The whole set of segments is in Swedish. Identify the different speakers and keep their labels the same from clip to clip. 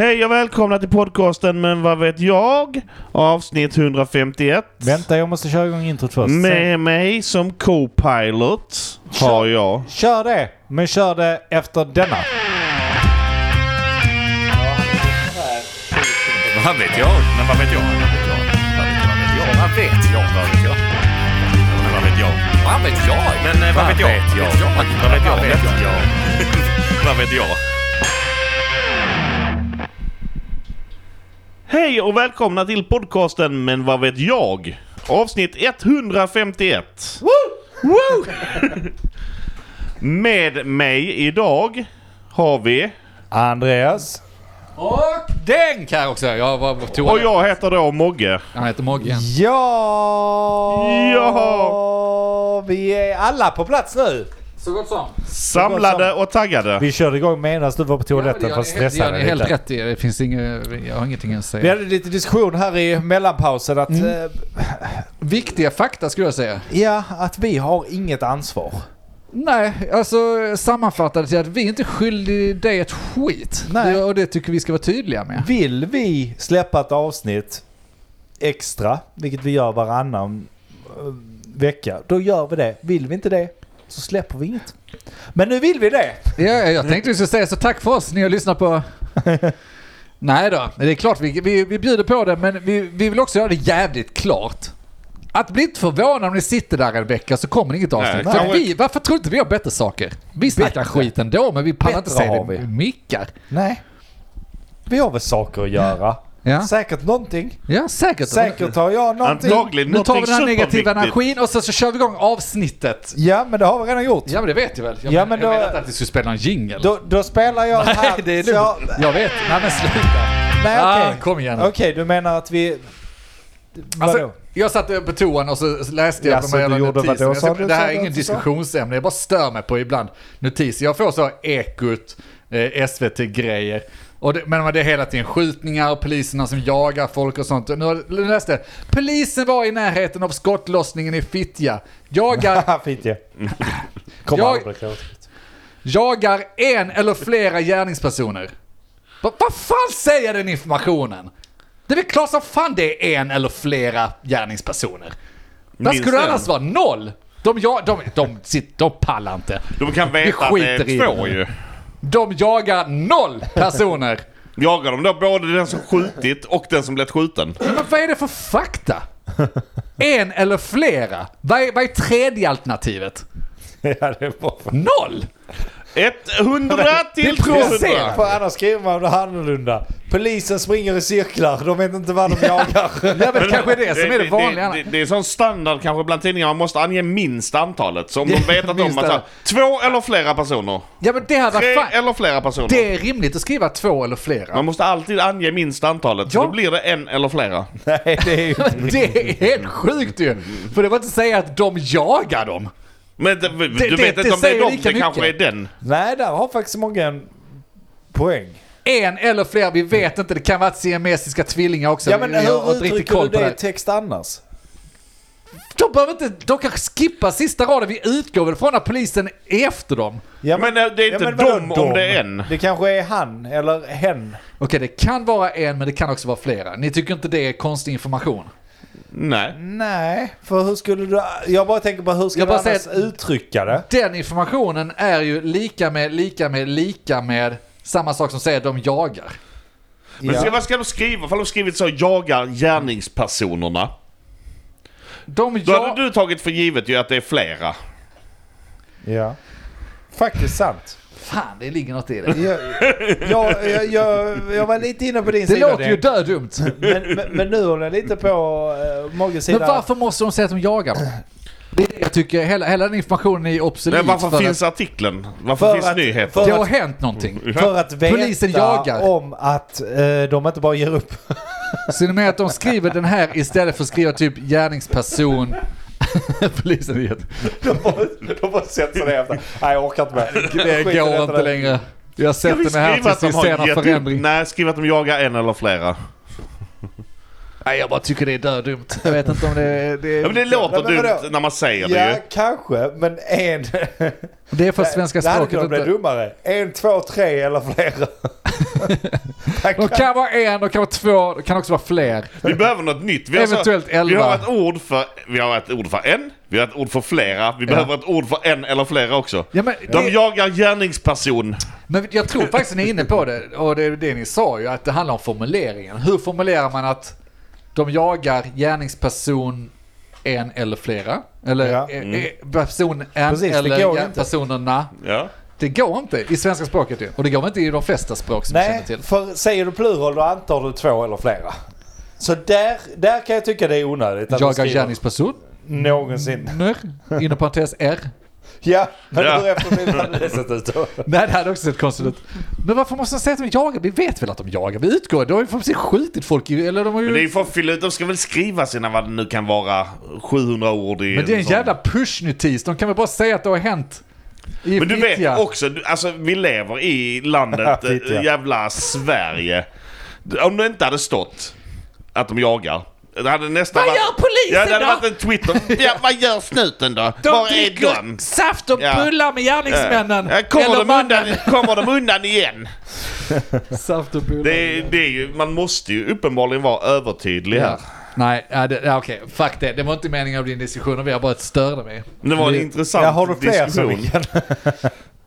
Speaker 1: Hej och välkomna till podcasten Men vad vet jag? Avsnitt 151.
Speaker 2: Vänta, jag måste köra igång introt först. Sen-
Speaker 1: Med mig som co-pilot har jag.
Speaker 2: Kör det, men kör det efter denna.
Speaker 3: Vad vet jag? Men vad vet jag? Vad vet jag? Vad vet jag? Vad vet jag? Men vad vet jag? Vad vet jag? Men eh, vad vet jag? Vad vet jag? Vad vet jag? Vad vet jag?
Speaker 1: Hej och välkomna till podcasten Men vad vet jag? Avsnitt 151. Woo! Woo! Med mig idag har vi...
Speaker 2: Andreas.
Speaker 4: Och Denk här också! Jag var på
Speaker 1: Och
Speaker 4: toaletten.
Speaker 1: jag heter då Mogge.
Speaker 4: Han heter Moggen.
Speaker 2: Ja!
Speaker 1: Ja!
Speaker 2: Vi är alla på plats nu.
Speaker 4: Så gott som.
Speaker 1: Samlade och taggade.
Speaker 2: Vi körde igång medan du var på toaletten för att
Speaker 4: det
Speaker 2: stressa
Speaker 4: gör ni
Speaker 2: dig
Speaker 4: helt
Speaker 2: lite.
Speaker 4: rätt i. Det finns inget, jag har ingenting att
Speaker 2: Vi
Speaker 4: säga.
Speaker 2: hade lite diskussion här i mellanpausen att, eh,
Speaker 4: Viktiga fakta skulle jag säga.
Speaker 2: ja, att vi har inget ansvar.
Speaker 4: Nej, alltså sammanfattade till att vi är inte skyldiga dig ett skit.
Speaker 2: Nej.
Speaker 4: Det, och det tycker vi ska vara tydliga med.
Speaker 2: Vill vi släppa ett avsnitt extra, vilket vi gör varannan eh, vecka, då gör vi det. Vill vi inte det, så släpper vi inget. Men nu vill vi det!
Speaker 4: Ja, jag tänkte vi skulle säga så tack för oss, ni har lyssnat på... Nej då, det är klart vi, vi, vi bjuder på det men vi, vi vill också göra det jävligt klart. Att bli inte förvånad om ni sitter där en vecka så kommer det inget avsnitt.
Speaker 1: Nej,
Speaker 4: för
Speaker 1: kanske-
Speaker 4: vi, varför tror inte vi har bättre saker? Vi snackar
Speaker 2: Bättre.
Speaker 4: skit ändå men vi pallar inte
Speaker 2: Bättre
Speaker 4: säga
Speaker 2: har
Speaker 4: det
Speaker 2: vi.
Speaker 4: i mickar.
Speaker 2: Nej. Vi har väl saker att göra.
Speaker 4: Ja.
Speaker 2: Säkert någonting.
Speaker 4: Ja, säkert.
Speaker 2: Säkert har jag någonting.
Speaker 1: Antagligen
Speaker 4: Nu tar vi den här
Speaker 1: någonting
Speaker 4: negativa
Speaker 1: superviktigt.
Speaker 4: energin och sen så kör vi igång avsnittet.
Speaker 2: Ja, men det har vi redan gjort.
Speaker 4: Ja men det vet jag väl. Jag,
Speaker 2: Ja,
Speaker 4: men,
Speaker 2: men
Speaker 4: jag
Speaker 2: då-
Speaker 4: menar inte att vi skulle spela en jingle.
Speaker 2: Då, då spelar jag
Speaker 4: Nej,
Speaker 2: här.
Speaker 4: det är
Speaker 2: så jag-
Speaker 4: lugnt. Jag vet. Nej men sluta.
Speaker 2: Nej,
Speaker 4: Ah,
Speaker 2: okej.
Speaker 4: kom igen.
Speaker 2: Okej, du menar att vi... Vadå?
Speaker 4: Alltså, jag satt på toan och så läste jag
Speaker 2: Jaså,
Speaker 4: på de här
Speaker 2: du
Speaker 4: jävla
Speaker 2: gjorde vad då,
Speaker 4: notiserna.
Speaker 2: sa du?
Speaker 4: Det här är
Speaker 2: Sa du
Speaker 4: ingen
Speaker 2: att du sa?
Speaker 4: diskussionsämne, jag bara stör mig på ibland notiser. Jag får så Ekot, eh, SVT-grejer. Och det, men det är hela tiden skjutningar och poliserna som jagar folk och sånt. Och Nu har- nu läste jag. Polisen var i närheten av skottlossningen i Fittja. Jagar,
Speaker 2: Haha, Fint ju. Kommer
Speaker 4: Jag-
Speaker 2: aldrig bli klart.
Speaker 4: jagar en eller flera gärningspersoner. Va- Vad fan säger den informationen? Det är väl klart som fan det är en eller flera gärningspersoner. Där
Speaker 1: Minst
Speaker 4: skulle det
Speaker 1: en.
Speaker 4: annars vara noll. De, ja, de, de, de, de pallar inte.
Speaker 1: De kan veta att det
Speaker 4: skiter i
Speaker 1: är två
Speaker 4: det.
Speaker 1: ju.
Speaker 4: De jagar noll personer.
Speaker 1: Jagar de då både den som skjutit och den som blivit skjuten?
Speaker 4: Men vad är det för fakta? En eller flera? Vad är, vad är tredje alternativet?
Speaker 2: Ja, det är bra.
Speaker 4: Noll!
Speaker 1: 100 till
Speaker 4: det provocerar.
Speaker 1: 200!
Speaker 2: För annars skriver man det annorlunda. Polisen springer i cirklar, de vet inte vad de jagar.
Speaker 4: Ja, men kanske det som är det vanliga.
Speaker 1: Det, det, det är sån standard kanske bland tidningar, man måste ange minst antalet. Så om de vet att de
Speaker 4: Minst
Speaker 1: har två eller flera personer.
Speaker 4: Ja men det hade
Speaker 1: Tre
Speaker 4: varit fan.
Speaker 1: eller flera personer.
Speaker 4: Det är rimligt att skriva två eller flera.
Speaker 1: Man måste alltid ange minst antalet, så
Speaker 4: Ja.
Speaker 1: då blir det en eller flera.
Speaker 2: Nej, det är ju...
Speaker 4: Det är helt sjukt ju. För det var inte att säga att de jagar dem.
Speaker 1: Men det, du
Speaker 4: det-
Speaker 1: vet
Speaker 4: det
Speaker 1: inte om det är
Speaker 4: säger
Speaker 1: dem,
Speaker 4: lika
Speaker 1: det kanske är
Speaker 4: mycket.
Speaker 1: den.
Speaker 2: Nej, där har faktiskt många en poäng.
Speaker 4: En eller flera, vi vet inte. Det kan vara siamesiska tvillingar också.
Speaker 2: Ja, men
Speaker 4: Jag har
Speaker 2: hur
Speaker 4: inte riktigt
Speaker 2: uttrycker
Speaker 4: koll
Speaker 2: du
Speaker 4: på
Speaker 2: det i
Speaker 4: det.
Speaker 2: text annars?
Speaker 4: De behöver inte, de kan skippa sista raden. Vi utgår väl från att polisen är efter dem.
Speaker 2: Ja,
Speaker 1: Men eh, det är inte
Speaker 2: vadå
Speaker 1: dem om det är en.
Speaker 2: Det kanske är han eller hen.
Speaker 4: Okej, det kan vara en, men det kan också vara flera. Ni tycker inte det är konstig information?
Speaker 1: Nej.
Speaker 2: Nej, för hur skulle du... Jag bara tänker på hur ska
Speaker 4: Jag
Speaker 2: du
Speaker 4: bara
Speaker 2: annars
Speaker 4: säger att-
Speaker 2: uttrycka det?
Speaker 4: Den informationen är ju lika med, lika med, lika med samma sak som säger de jagar.
Speaker 1: Men
Speaker 2: Ja.
Speaker 1: ska, vad ska de skriva? För de skrivit så, jagar gärningspersonerna.
Speaker 4: De
Speaker 1: Då
Speaker 4: jagar...
Speaker 1: hade du tagit för givet ju att det är flera.
Speaker 2: ja. Faktiskt sant.
Speaker 4: Fan, det ligger något i det.
Speaker 2: Jag, jag, jag, jag, jag var lite inne på din
Speaker 4: Det
Speaker 2: sida.
Speaker 4: låter ju
Speaker 2: Dirk.
Speaker 4: dödumt.
Speaker 2: men, men, men nu håller jag lite på uh, Mogges
Speaker 4: Men
Speaker 2: sida.
Speaker 4: varför måste de säga att de jagar dem? Det är det jag tycker. Hela, hela den informationen är obsolet.
Speaker 1: Men varför
Speaker 4: för
Speaker 1: finns artikeln? Varför
Speaker 2: För
Speaker 1: finns
Speaker 2: att-
Speaker 1: nyheter?
Speaker 2: för-
Speaker 4: att, det har hänt någonting.
Speaker 2: För att veta
Speaker 4: Polisen jagar.
Speaker 2: om att eh, de inte bara ger upp.
Speaker 4: Så ni menar att de skriver den här istället för att skriva typ gärningsperson? Polisen är jätte...
Speaker 2: De bara, de bara sätter sig ner efter. Nej, jag orkar inte med.
Speaker 4: Det
Speaker 2: Skit i detta
Speaker 4: går inte
Speaker 2: nu.
Speaker 4: längre. Jag
Speaker 1: Ska vi
Speaker 4: sätter mig här
Speaker 1: skriva att
Speaker 4: tills
Speaker 1: de
Speaker 4: vi
Speaker 1: har
Speaker 4: ser någon
Speaker 1: gett upp?
Speaker 4: förändring.
Speaker 1: Nej, skriv att de jagar en eller flera.
Speaker 4: Nej, jag bara tycker det är dödumt. Jag vet inte om det är... Det
Speaker 1: Ja,
Speaker 4: är,
Speaker 1: men det låter
Speaker 2: men vadå?
Speaker 1: dumt när man säger det
Speaker 2: Ja,
Speaker 1: ju.
Speaker 2: kanske, men en...
Speaker 4: det är för svenska
Speaker 2: Det hade
Speaker 4: språket
Speaker 2: kunnat bli
Speaker 4: inte...
Speaker 2: dummare. En, två, tre eller flera.
Speaker 4: De kan vara en, de kan vara två, de kan också vara fler.
Speaker 3: Vi behöver något nytt. Vi har,
Speaker 4: Eventuellt
Speaker 3: vi
Speaker 4: elva.
Speaker 3: har, ett ord för, vi har ett ord för en, vi har ett ord för flera, vi behöver ett ord för en eller flera också.
Speaker 4: Ja, men
Speaker 3: De
Speaker 4: det-
Speaker 3: jagar gärningsperson.
Speaker 4: Men jag tror faktiskt ni är inne på det, och det är det ni sa ju, att det handlar om formuleringen. Hur formulerar man att de jagar gärningsperson en eller flera? Eller
Speaker 2: Ja.
Speaker 4: eh, eh, person en
Speaker 2: Precis, det
Speaker 4: eller
Speaker 2: går
Speaker 4: gär-
Speaker 2: inte.
Speaker 4: personerna?
Speaker 3: Ja.
Speaker 4: Det går inte i svenska språket ju. Och det går inte i de flesta språk som jag
Speaker 2: Nej,
Speaker 4: känner till.
Speaker 2: för säger du plural då antar du två eller flera. Så där, där kan jag tycka det är onödigt att
Speaker 4: Jagar
Speaker 2: du skriver
Speaker 4: gärningsperson?
Speaker 2: någonsin.
Speaker 4: Ner, inom parentes R.
Speaker 2: Ja, men
Speaker 3: Ja.
Speaker 2: hur efterbliven hade det sett ut då?
Speaker 4: Nej, det hade också sett konstigt ut. Men varför måste man säga att de jagar? Vi vet väl att de jagar? Vi utgår. De har ju precis skjutit folk i, eller de har ju...
Speaker 3: Men det är ju för att fylla ut, de ska väl skriva sina vad det nu kan vara, 700 ord i...
Speaker 4: Men det är en
Speaker 3: sån-
Speaker 4: jävla push-notis. De kan väl bara säga att det har hänt. I
Speaker 3: Men du
Speaker 4: Fittja.
Speaker 3: vet också, du- alltså vi lever i landet, eh,
Speaker 2: Fittja.
Speaker 3: jävla Sverige. Om det inte hade stått att de jagar. Det hade nästan
Speaker 4: Vad
Speaker 3: varit-
Speaker 4: gör polisen
Speaker 3: Ja, det hade
Speaker 4: då?
Speaker 3: varit en Twitter. Ja, vad gör snuten då?
Speaker 4: De
Speaker 3: Var är
Speaker 4: dricker
Speaker 3: de?
Speaker 4: saft och
Speaker 3: Ja.
Speaker 4: bullar med gärningsmännen.
Speaker 3: Ja, kommer,
Speaker 4: eller
Speaker 3: de
Speaker 4: mannen.
Speaker 3: undan, kommer de undan igen?
Speaker 4: Saft och bullar.
Speaker 3: Det, är- det är ju, man måste ju uppenbarligen vara övertydlig här.
Speaker 4: Ja. Nej, ja, det- ja, okej. Fuck det. Det var inte meningen av din diskussion. Vi har bara störde mig.
Speaker 3: Men det var en
Speaker 4: Det-
Speaker 3: intressant
Speaker 2: Jag har du fler så
Speaker 3: diskussion.
Speaker 2: vi kan...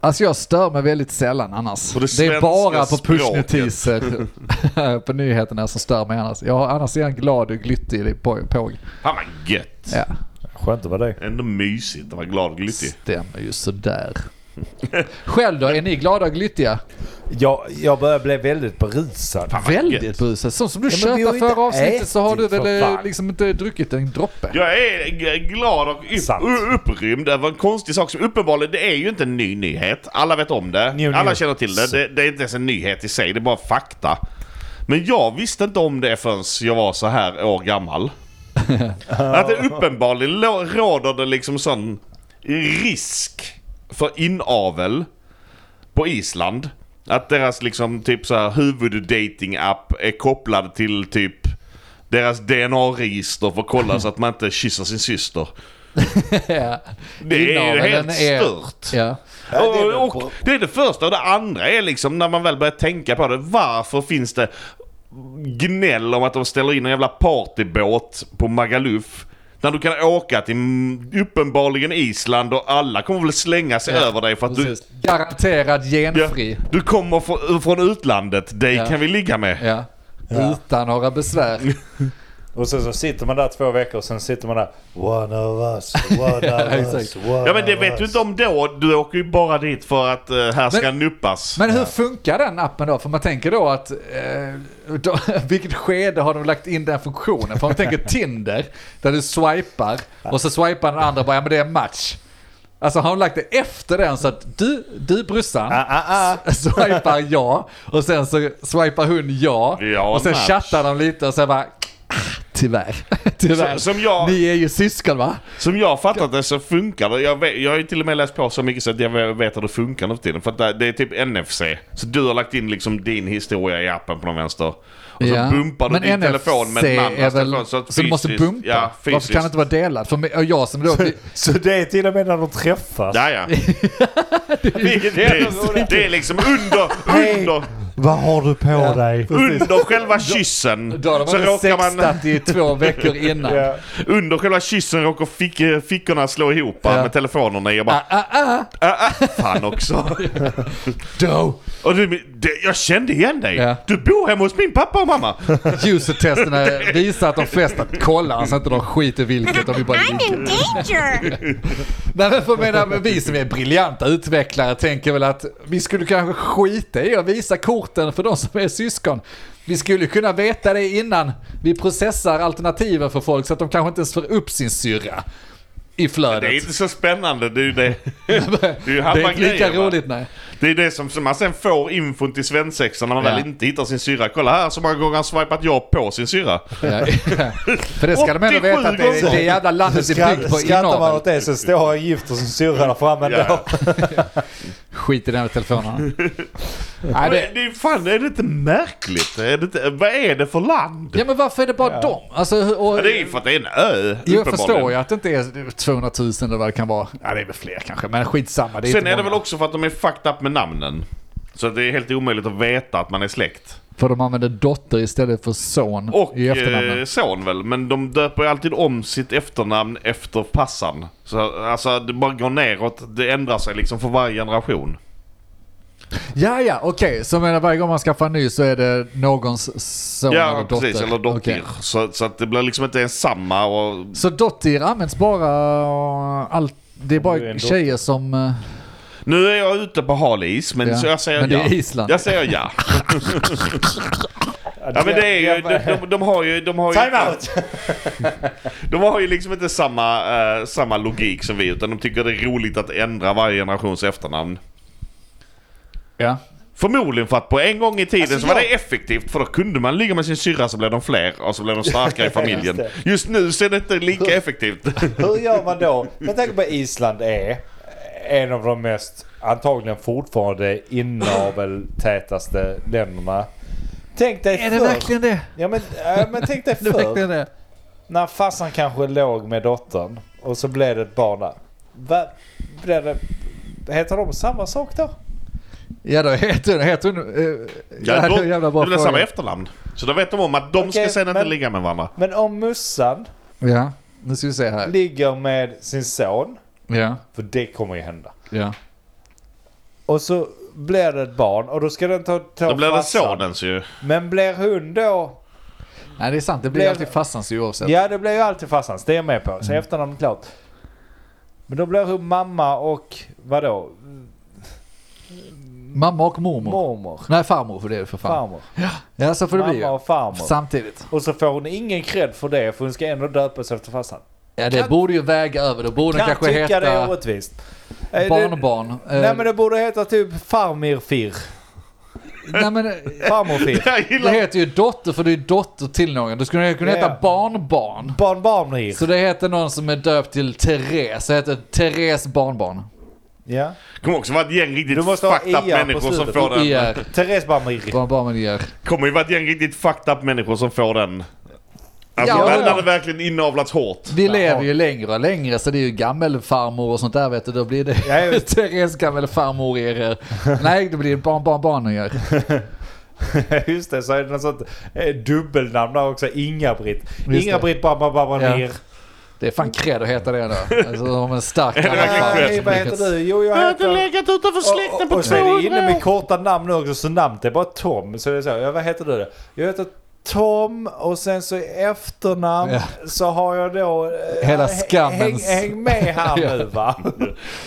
Speaker 4: Alltså jag stör mig väldigt sällan annars.
Speaker 3: På det
Speaker 4: Det, är bara på
Speaker 3: svenska
Speaker 4: pushnotiser på nyheterna som stör mig annars. Jag har annars är jag en glad och glyttig poj- påg.
Speaker 3: Fan vad gött.
Speaker 4: Ja,
Speaker 2: Skönt att vara det.
Speaker 3: Ändå mysigt att vara glad och glyttig.
Speaker 4: stämmer ju sådär. Själv då? Är ni glada och glyttiga?
Speaker 2: Jag, jag börjar bli väldigt berusad.
Speaker 3: Fan, vad gött.
Speaker 4: Väldigt brusad. Så som du
Speaker 2: Ja, men vi har
Speaker 4: tjötar
Speaker 2: ju inte
Speaker 4: förra avsnittet så har du
Speaker 2: ätit,
Speaker 4: väl
Speaker 2: för
Speaker 4: eh,
Speaker 2: fan.
Speaker 4: liksom inte druckit en droppe?
Speaker 3: Jag är g- glad och
Speaker 2: Sant.
Speaker 3: upp, u- upprymd över en konstig sak som uppenbarligen, det är ju inte en ny nyhet. Alla vet om det.
Speaker 2: Jo, jo.
Speaker 3: Alla känner till det. det. Det är inte ens en nyhet i sig, det är bara fakta. Men jag visste inte om det förrän jag var så här år gammal. Att det uppenbarligen lo- råder det liksom sån risk för inavel på Island. Att deras liksom typ så här huvuddating-app är kopplad till typ deras DNA-register för att kolla så att man inte kysser sin syster. Det är ju
Speaker 4: Inaveln
Speaker 3: helt
Speaker 4: är-
Speaker 3: stört.
Speaker 4: Ja.
Speaker 2: det är väl
Speaker 3: Och, och
Speaker 2: bra.
Speaker 3: det är det första. Och det andra är liksom när man väl börjar tänka på det. Varför finns det gnäll om att de ställer in en jävla partybåt på Magaluf? När du kan åka till mm, uppenbarligen Island och alla kommer väl slänga sig
Speaker 4: Ja,
Speaker 3: över dig för att du,
Speaker 4: Precis. Garanterad
Speaker 3: ja,
Speaker 4: genfri.
Speaker 3: du kommer från, från utlandet. Dig
Speaker 4: Ja.
Speaker 3: kan vi ligga med.
Speaker 4: Ja. Utan några besvär.
Speaker 2: Och sen så sitter man där två veckor och sen sitter man där. One of us, one
Speaker 4: Ja,
Speaker 2: of
Speaker 4: exakt.
Speaker 2: us, one
Speaker 3: Ja men det
Speaker 2: of
Speaker 3: vet
Speaker 2: us."
Speaker 3: du inte om då. Du åker ju bara dit för att eh, här ska nuppas.
Speaker 4: Men hur funkar den appen då? För man tänker då att, eh, då, vilket skede har de lagt in den funktionen? För man tänker Tinder, där du swipar och så swipar den andra bara, ja men det är en match. Alltså har de lagt det efter den så att du, du brorsan,
Speaker 2: Ah, ah, ah.
Speaker 4: s- swipar ja och sen så swipar hon ja,
Speaker 3: Ja,
Speaker 4: och sen
Speaker 3: match.
Speaker 4: chattar de lite och sen bara, ah, tyvärr, tyvärr.
Speaker 3: Så- som jag-
Speaker 4: Ni är ju syskon va?
Speaker 3: Som jag har fattat det så funkar det. Jag, vet, jag har ju till och med läst på så mycket så att jag vet att det funkar nu för tiden. För att det, det är typ NFC. Så du har lagt in liksom din historia i appen på någon vänster. Och så
Speaker 4: Ja.
Speaker 3: bumpar du
Speaker 4: Men
Speaker 3: din
Speaker 4: NFC
Speaker 3: telefon med den
Speaker 4: är
Speaker 3: andras
Speaker 4: väl-
Speaker 3: telefon. Så, att
Speaker 4: så du måste
Speaker 3: fysiskt-
Speaker 4: bumpa?
Speaker 3: Ja,
Speaker 4: Varför
Speaker 3: fysiskt.
Speaker 4: kan det inte vara delad? För mig- och jag som då...
Speaker 2: Så det är till och med när de träffas.
Speaker 3: Ja, ja. det, det, det är liksom under,
Speaker 2: Hej.
Speaker 3: under,
Speaker 2: Vad har du på dig?
Speaker 3: under själva kyssen.
Speaker 4: Då har de
Speaker 3: Så
Speaker 4: varit
Speaker 3: råkar
Speaker 4: sextat
Speaker 3: man,
Speaker 4: i två veckor innan.
Speaker 2: Ja.
Speaker 3: under själva kyssen råkar fick, eh, fickorna slå ihop
Speaker 4: Ja.
Speaker 3: med telefonerna. Jag bara,
Speaker 4: Ah, ah, ah.
Speaker 3: ah, ah, fan också.
Speaker 4: Då!
Speaker 3: Och du, det, jag kände igen dig.
Speaker 4: Ja.
Speaker 3: Du bor hemma hos min pappa och mamma.
Speaker 4: User-testerna visar att de flesta kollar så inte de skiter vilket. De vill bara
Speaker 5: I'm
Speaker 4: vilket.
Speaker 5: in danger.
Speaker 4: Nej men för jag menar, men vi som är briljanta utvecklare tänker väl att vi skulle kanske skita i att visa korten för de som är syskon. Vi skulle kunna veta det innan vi processar alternativen för folk så att de kanske inte ens får upp sin syrra i
Speaker 3: Det är
Speaker 4: flödet.
Speaker 3: inte så spännande. Det är ju det. Det är ju
Speaker 4: Det
Speaker 3: halva
Speaker 4: är inte lika
Speaker 3: grejen, va?
Speaker 4: roligt nej.
Speaker 3: Det är det som, som man sen får infon till svensexan när man
Speaker 4: Ja.
Speaker 3: väl inte hittar sin syrra. Kolla här så många gånger han swipat ja på sin syrra.
Speaker 4: Ja, för det ska de ändå
Speaker 3: 87
Speaker 4: veta att det,
Speaker 3: gånger.
Speaker 4: det jävla landet är byggt på
Speaker 2: Skrattar man
Speaker 4: inavel.
Speaker 2: åt det så står en gifter som syrra där framme
Speaker 3: Ja, ja.
Speaker 2: ändå.
Speaker 4: Skit i den här telefonen. Nej,
Speaker 3: Men
Speaker 4: det,
Speaker 3: det är ju fan, är det inte märkligt? Är det inte, vad är det för land?
Speaker 4: ja men varför är det bara dem? Alltså, hur- och,
Speaker 3: Ja, det är ju för att det är en ö,
Speaker 4: jag
Speaker 3: uppenbarligen.
Speaker 4: förstår ju att det inte är 200 000 eller vad det kan vara. Ja, det är väl fler kanske, men skitsamma. Det är
Speaker 3: Sen
Speaker 4: inte
Speaker 3: är det
Speaker 4: många.
Speaker 3: väl också för att de är fucked up med namnen. Så att det är helt omöjligt att veta att man är släkt.
Speaker 4: För de använder dotter istället för son
Speaker 3: Och
Speaker 4: i efternamnen.
Speaker 3: eh, son väl, men de döper ju alltid om sitt efternamn efter passan. Så, alltså det bara går neråt, det ändrar sig liksom för varje generation.
Speaker 4: Ja, ja, okej. Så menar varje gång man skaffar en ny så är det någons son
Speaker 3: ja,
Speaker 4: eller dotter?
Speaker 3: precis, eller dotter.
Speaker 4: Okej.
Speaker 3: Så, så att det blir liksom inte ens samma och...
Speaker 4: Så dotter används bara... eh, Allt, det är
Speaker 2: du är
Speaker 4: bara
Speaker 2: en
Speaker 4: tjejer som... eh,
Speaker 3: Nu är jag ute på hal is, men
Speaker 4: Ja.
Speaker 3: så jag säger
Speaker 4: Men det
Speaker 3: ja.
Speaker 4: är Island.
Speaker 3: Jag säger ja. Ja men det är ju, de, de, de har ju... De har ju
Speaker 2: Time out!
Speaker 3: De har ju liksom inte samma, eh, samma logik som vi utan de tycker det är roligt att ändra varje generations efternamn.
Speaker 4: Ja.
Speaker 3: Förmodligen för att på en gång i tiden
Speaker 2: Alltså,
Speaker 3: så var
Speaker 2: jag-
Speaker 3: det effektivt för då kunde man ligga med sin syrra så blev de fler och så blev de starkare i familjen.
Speaker 2: Just
Speaker 3: Just nu så är det inte lika effektivt.
Speaker 2: Hur gör man då? Med tanke på att Island är en av de mest, antagligen fortfarande inaveltätaste länderna. Tänk dig
Speaker 4: Är det
Speaker 2: förr.
Speaker 4: verkligen det?
Speaker 2: Ja men, ja, men tänk dig
Speaker 4: Är det
Speaker 2: förr.
Speaker 4: verkligen det?
Speaker 2: När farsan kanske låg med dottern och så blev det ett barn där. Va? Blev det, heter de samma sak då?
Speaker 4: Ja, då heter hon... Heter hon eh, ja,
Speaker 3: Ja,
Speaker 4: det
Speaker 3: då,
Speaker 4: är en jävla bra
Speaker 3: det blir samma
Speaker 4: fråga.
Speaker 3: efternamn. Så då vet de om att de ska
Speaker 2: Okej,
Speaker 3: sen inte
Speaker 2: men-
Speaker 3: ligga med varandra.
Speaker 2: Men om mussan
Speaker 4: Ja, nu ska vi se här.
Speaker 2: ligger med sin son,
Speaker 4: Ja,
Speaker 2: för det kommer ju hända.
Speaker 4: ja.
Speaker 2: Och så blir det ett barn och då ska den ta, ta
Speaker 3: Då blir det
Speaker 2: farsan.
Speaker 3: sonens ju.
Speaker 2: Men blir hon då
Speaker 4: Nej, det är sant. Det blir
Speaker 2: Blev-
Speaker 4: alltid farsans ju oavsett.
Speaker 2: Ja, det blir ju alltid farsans. Det är jag med på.
Speaker 3: Mm.
Speaker 2: Så efternamnet klart. Men då blir hon mamma och vadå?
Speaker 4: Mamma och mormor.
Speaker 2: Mormor.
Speaker 4: Nej, farmor för det är det för fan.
Speaker 2: Farmor.
Speaker 4: Ja, så får det bli
Speaker 2: Mamma
Speaker 4: ju.
Speaker 2: och farmor.
Speaker 4: Samtidigt.
Speaker 2: Och så får hon ingen cred för det för hon ska ändå döpas efter farsan.
Speaker 4: Ja, det
Speaker 2: Kan-
Speaker 4: borde ju väga över. Då borde den
Speaker 2: Kan
Speaker 4: kanske
Speaker 2: tycka det är
Speaker 4: heta
Speaker 2: orättvist. Eh, det-
Speaker 4: barnbarn.
Speaker 2: Nej men det borde heta typ farmirfir.
Speaker 4: Nej, men, eh,
Speaker 2: Farmorfir.
Speaker 3: Jag
Speaker 4: det
Speaker 3: gillar
Speaker 4: heter ju dotter för det är ju dotter till någon. Då skulle det kunna heta
Speaker 2: Ja.
Speaker 4: barnbarn.
Speaker 2: Barnbarnir.
Speaker 4: Så det heter någon som är döpt till Therese. Det heter Therese barnbarn.
Speaker 2: Ja.
Speaker 3: Det kommer också vara ett gäng riktigt
Speaker 2: Du måste ha
Speaker 3: fucked up
Speaker 2: IA på
Speaker 3: människor som
Speaker 2: slutet.
Speaker 3: får den.
Speaker 4: IR.
Speaker 2: Therese Barnmir.
Speaker 4: Barnbarn IR.
Speaker 3: kommer ju vara ett gäng riktigt fucked up människor som får den. Alltså
Speaker 4: Ja,
Speaker 3: när
Speaker 4: ja.
Speaker 3: när det verkligen inavlats hårt.
Speaker 4: Vi lever ju längre och längre så det är ju gammelfarmor och sånt där vet du. Då blir det
Speaker 2: Ja, jag vet.
Speaker 4: Therese gammelfarmor IR. Nej, då blir det barn, barn, barn IR.
Speaker 2: Just det, så är det något sånt eh, dubbelnamn där också. Inga-Britt.
Speaker 4: det.
Speaker 2: Inga-Britt Barnbarnir.
Speaker 4: Ja. Det är
Speaker 2: Mm.
Speaker 4: fan cred att heta det då. Alltså de en stark
Speaker 3: det verkligen
Speaker 2: Ja.
Speaker 4: gammelfarmor.
Speaker 3: cred?
Speaker 2: Hej, vad heter du? Jo, jag heter...
Speaker 3: legat utanför
Speaker 2: Och, och, och så är det inne med korta namn nu också, så namnet är bara Tom. Så det är så, ja, vad heter du då? Jag heter Tom och sen så i efternamn
Speaker 4: Ja.
Speaker 2: så har jag då... eh,
Speaker 4: Hela
Speaker 2: häng-
Speaker 4: skammens-
Speaker 2: Häng, häng med här
Speaker 4: Ja.
Speaker 2: nu va.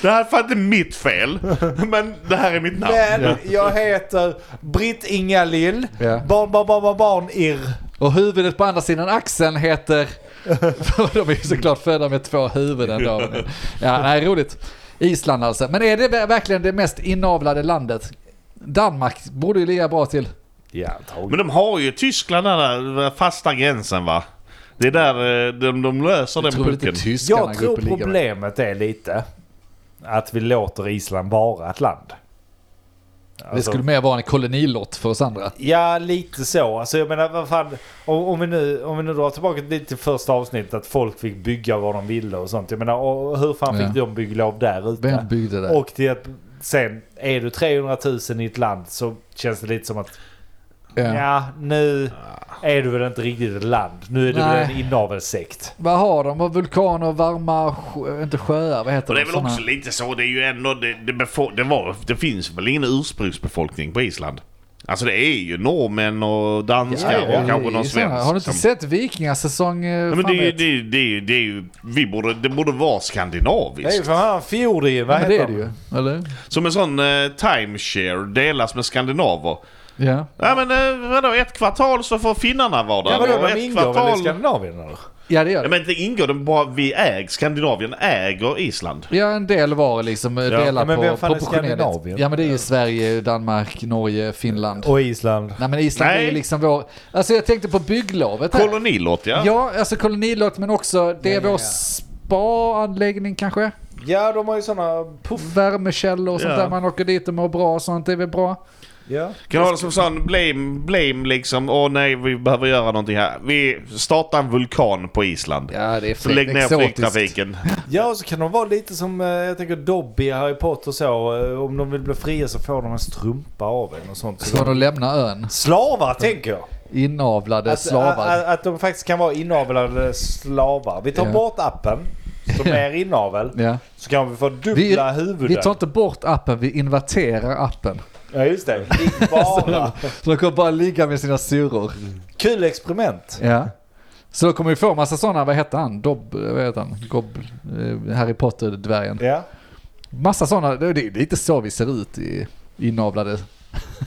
Speaker 3: Det här är fan inte mitt fel, men det här är mitt namn.
Speaker 2: Men jag heter Britt Inga Lill.
Speaker 4: Ja.
Speaker 2: Barn, barn, barn, barn, barn, irr.
Speaker 4: Och huvudet på andra sidan axeln heter... För de är ju såklart födda med två huvuden då. Ja, nej, roligt. Island alltså. Men är det ver- verkligen det mest inavlade landet? Danmark borde ju ligga bra till.
Speaker 2: Ja,
Speaker 3: Men de har ju Tyskland där, där fasta gränsen va? Det är där eh, de, de löser
Speaker 4: Jag
Speaker 3: den
Speaker 4: tror typ- väl inte
Speaker 3: pucken.
Speaker 4: tyskarna
Speaker 2: jag
Speaker 4: går
Speaker 2: tror
Speaker 4: upp och ligger med.
Speaker 2: problemet är lite att vi låter Island vara ett land.
Speaker 4: Det
Speaker 2: Alltså-
Speaker 4: skulle mer vara en kolonilott för oss andra.
Speaker 2: Ja, lite så. Alltså jag menar, vad fan. Om, om, vi nu, om vi nu drar tillbaka lite till första avsnittet att folk fick bygga vad de ville och sånt. Jag menar, och hur fan
Speaker 4: Ja.
Speaker 2: fick de bygglov där ute?
Speaker 4: Vem byggde det?
Speaker 2: Och till att sen, är du 300 000 i ett land så känns det lite som att ja,
Speaker 4: ja.
Speaker 2: nu är du väl inte riktigt ett land. Nu är du väl
Speaker 4: Nej.
Speaker 2: en inavelssekt.
Speaker 4: Vad har de? Vad Vulkaner, varma, sjö, inte sjöar, vad heter
Speaker 3: Och det är
Speaker 4: de?
Speaker 3: väl
Speaker 4: Såna-
Speaker 3: också lite så, det är ju ändå, det, det, befo- det, var, det finns väl ingen ursprungsbefolkning på Island? Alltså det är ju norrmän och danskar
Speaker 2: Ja, ja,
Speaker 3: och kanske
Speaker 4: Det är
Speaker 3: någon
Speaker 4: såna-
Speaker 3: svensk.
Speaker 4: Har du inte
Speaker 3: som-
Speaker 4: sett Vikingasäsong? eh,
Speaker 3: Nej, men
Speaker 4: fan
Speaker 3: det, är ju-
Speaker 4: vet.
Speaker 3: det, är- det, är- det är ju, vi borde, det borde vara skandinaviskt.
Speaker 2: Det är ju för fan fjordi, vad
Speaker 4: Men det
Speaker 2: heter
Speaker 4: är det
Speaker 2: de?
Speaker 4: ju, eller?
Speaker 3: Som en sån eh, timeshare delas med skandinaver.
Speaker 4: Ja.
Speaker 3: Ja men eh, vadå, ett kvartal så får finnarna vara där.
Speaker 2: Ja, vadå,
Speaker 3: och
Speaker 2: de
Speaker 3: ett
Speaker 2: ingår väl i Skandinavien eller?
Speaker 4: ja, det gör
Speaker 3: Ja,
Speaker 4: det.
Speaker 3: men det ingår, de bara, vi äger, Skandinavien äger Island.
Speaker 4: Ja, en del var liksom ja. delar
Speaker 2: Ja, men vem
Speaker 4: på
Speaker 2: fan är
Speaker 4: proportionerligt.
Speaker 2: Skandinavien?
Speaker 4: Ja, men det är ju Sverige, Danmark, Norge, Finland.
Speaker 2: Och Island.
Speaker 4: Nej, men Island
Speaker 3: Nej.
Speaker 4: är ju liksom vår... Alltså jag tänkte på bygglovet här.
Speaker 3: Kolonilott ja.
Speaker 4: Ja, alltså kolonilott, men också det
Speaker 2: Ja,
Speaker 4: är
Speaker 2: ja,
Speaker 4: vår
Speaker 2: ja.
Speaker 4: spa-anläggning kanske.
Speaker 2: Ja, de har ju sådana puff.
Speaker 4: Värmekällor och sånt
Speaker 3: Ja.
Speaker 4: där. Man åker dit och mår bra och sånt. Det är väl bra.
Speaker 2: Ja.
Speaker 3: Kan ha det som sån blame, blame liksom. Åh nej, vi behöver göra någonting här. Vi startar en vulkan på Island.
Speaker 4: Ja, det är
Speaker 3: Så lägg ner
Speaker 4: exotiskt.
Speaker 3: flygtrafiken.
Speaker 2: ja, och så kan de vara lite som eh, jag tänker Dobby i Harry Potter så. eh, Om de vill bli fria så får de en strumpa av en och sånt. Så
Speaker 4: Så
Speaker 2: de...
Speaker 4: de lämnar ön.
Speaker 2: Slavar tänker jag.
Speaker 4: Inavlade
Speaker 2: Att,
Speaker 4: slavar.
Speaker 2: att, att de faktiskt kan vara inavlade slavar. Vi tar
Speaker 4: Ja.
Speaker 2: bort appen som är inavel.
Speaker 4: ja.
Speaker 2: Så kan vi få
Speaker 4: vi,
Speaker 2: dubbla huvuden.
Speaker 4: vi tar inte bort appen, vi inverterar appen.
Speaker 2: Ja just det. Ligg Bara.
Speaker 4: Så de kommer bara ligga med sina syrror.
Speaker 2: Kul experiment.
Speaker 4: Ja. Så då kommer vi få massa sådana, vad heter han? Dob, vad heter han? Gob, eh, Harry Potter-dvärgen.
Speaker 2: Ja.
Speaker 4: Massa sådana, det det är lite så vi ser ut i inavlade.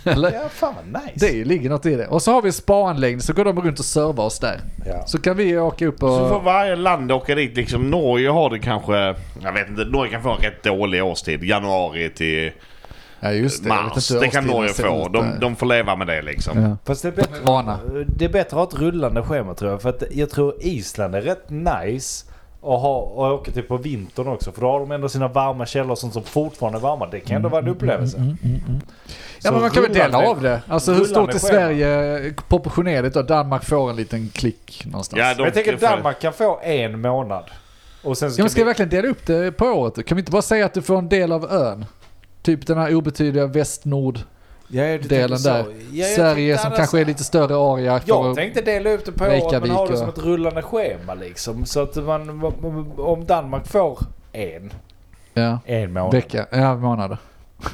Speaker 4: Eller?
Speaker 2: ja, fan vad nice.
Speaker 4: Det är- ligger något i det. Och så har vi en spaanläggning så går de runt och servar oss där.
Speaker 2: Ja.
Speaker 4: Så kan vi åka upp och...
Speaker 3: Så får varje land åka dit liksom. Norge har det kanske... Jag vet inte. Norge kan få en rätt dålig årstid. Januari till
Speaker 4: ja just det. Jag vet
Speaker 3: mars.
Speaker 4: inte hur
Speaker 3: Det kan
Speaker 4: årstiderna
Speaker 3: Norge
Speaker 4: ser
Speaker 3: få.
Speaker 4: ut
Speaker 3: De,
Speaker 4: där.
Speaker 3: de får leva med det liksom.
Speaker 4: Ja.
Speaker 2: Fast det är
Speaker 4: De
Speaker 2: bättre,
Speaker 4: är vana.
Speaker 2: det är bättre att ha ett rullande schema tror jag. För att jag tror Island är rätt nice att ha och åka till på vintern också. För då har de ändå sina varma källor och sånt som fortfarande är varma. Det kan ändå vara en upplevelse.
Speaker 4: Ja men man kan väl
Speaker 2: rullande-
Speaker 4: dela av det. Alltså hur
Speaker 2: rullande
Speaker 4: stort är
Speaker 2: schema.
Speaker 4: Sverige proportionerligt då? Danmark får en liten klick någonstans.
Speaker 3: Ja,
Speaker 4: Ja,
Speaker 3: de-
Speaker 2: Men jag tänker
Speaker 3: det får-
Speaker 2: Danmark kan få en månad. Och sen så
Speaker 4: men ska vi
Speaker 2: kan vi...
Speaker 4: verkligen dela upp det på året? Kan vi inte bara säga att du får en del av ön? Typ den här obetydliga västnord
Speaker 2: Ja, jag tänkte
Speaker 4: delen
Speaker 2: så.
Speaker 4: där.
Speaker 2: Ja, jag
Speaker 4: Sverige
Speaker 2: tänkte
Speaker 4: som
Speaker 2: annars-
Speaker 4: kanske är lite större area. för-
Speaker 2: Jag tänkte dela ut det på året men ha
Speaker 4: Reykjavik
Speaker 2: det
Speaker 4: och-
Speaker 2: som ett rullande schema liksom. Så att man, om Danmark får en,
Speaker 4: Ja.
Speaker 2: en månad
Speaker 4: Vecka, ja månader.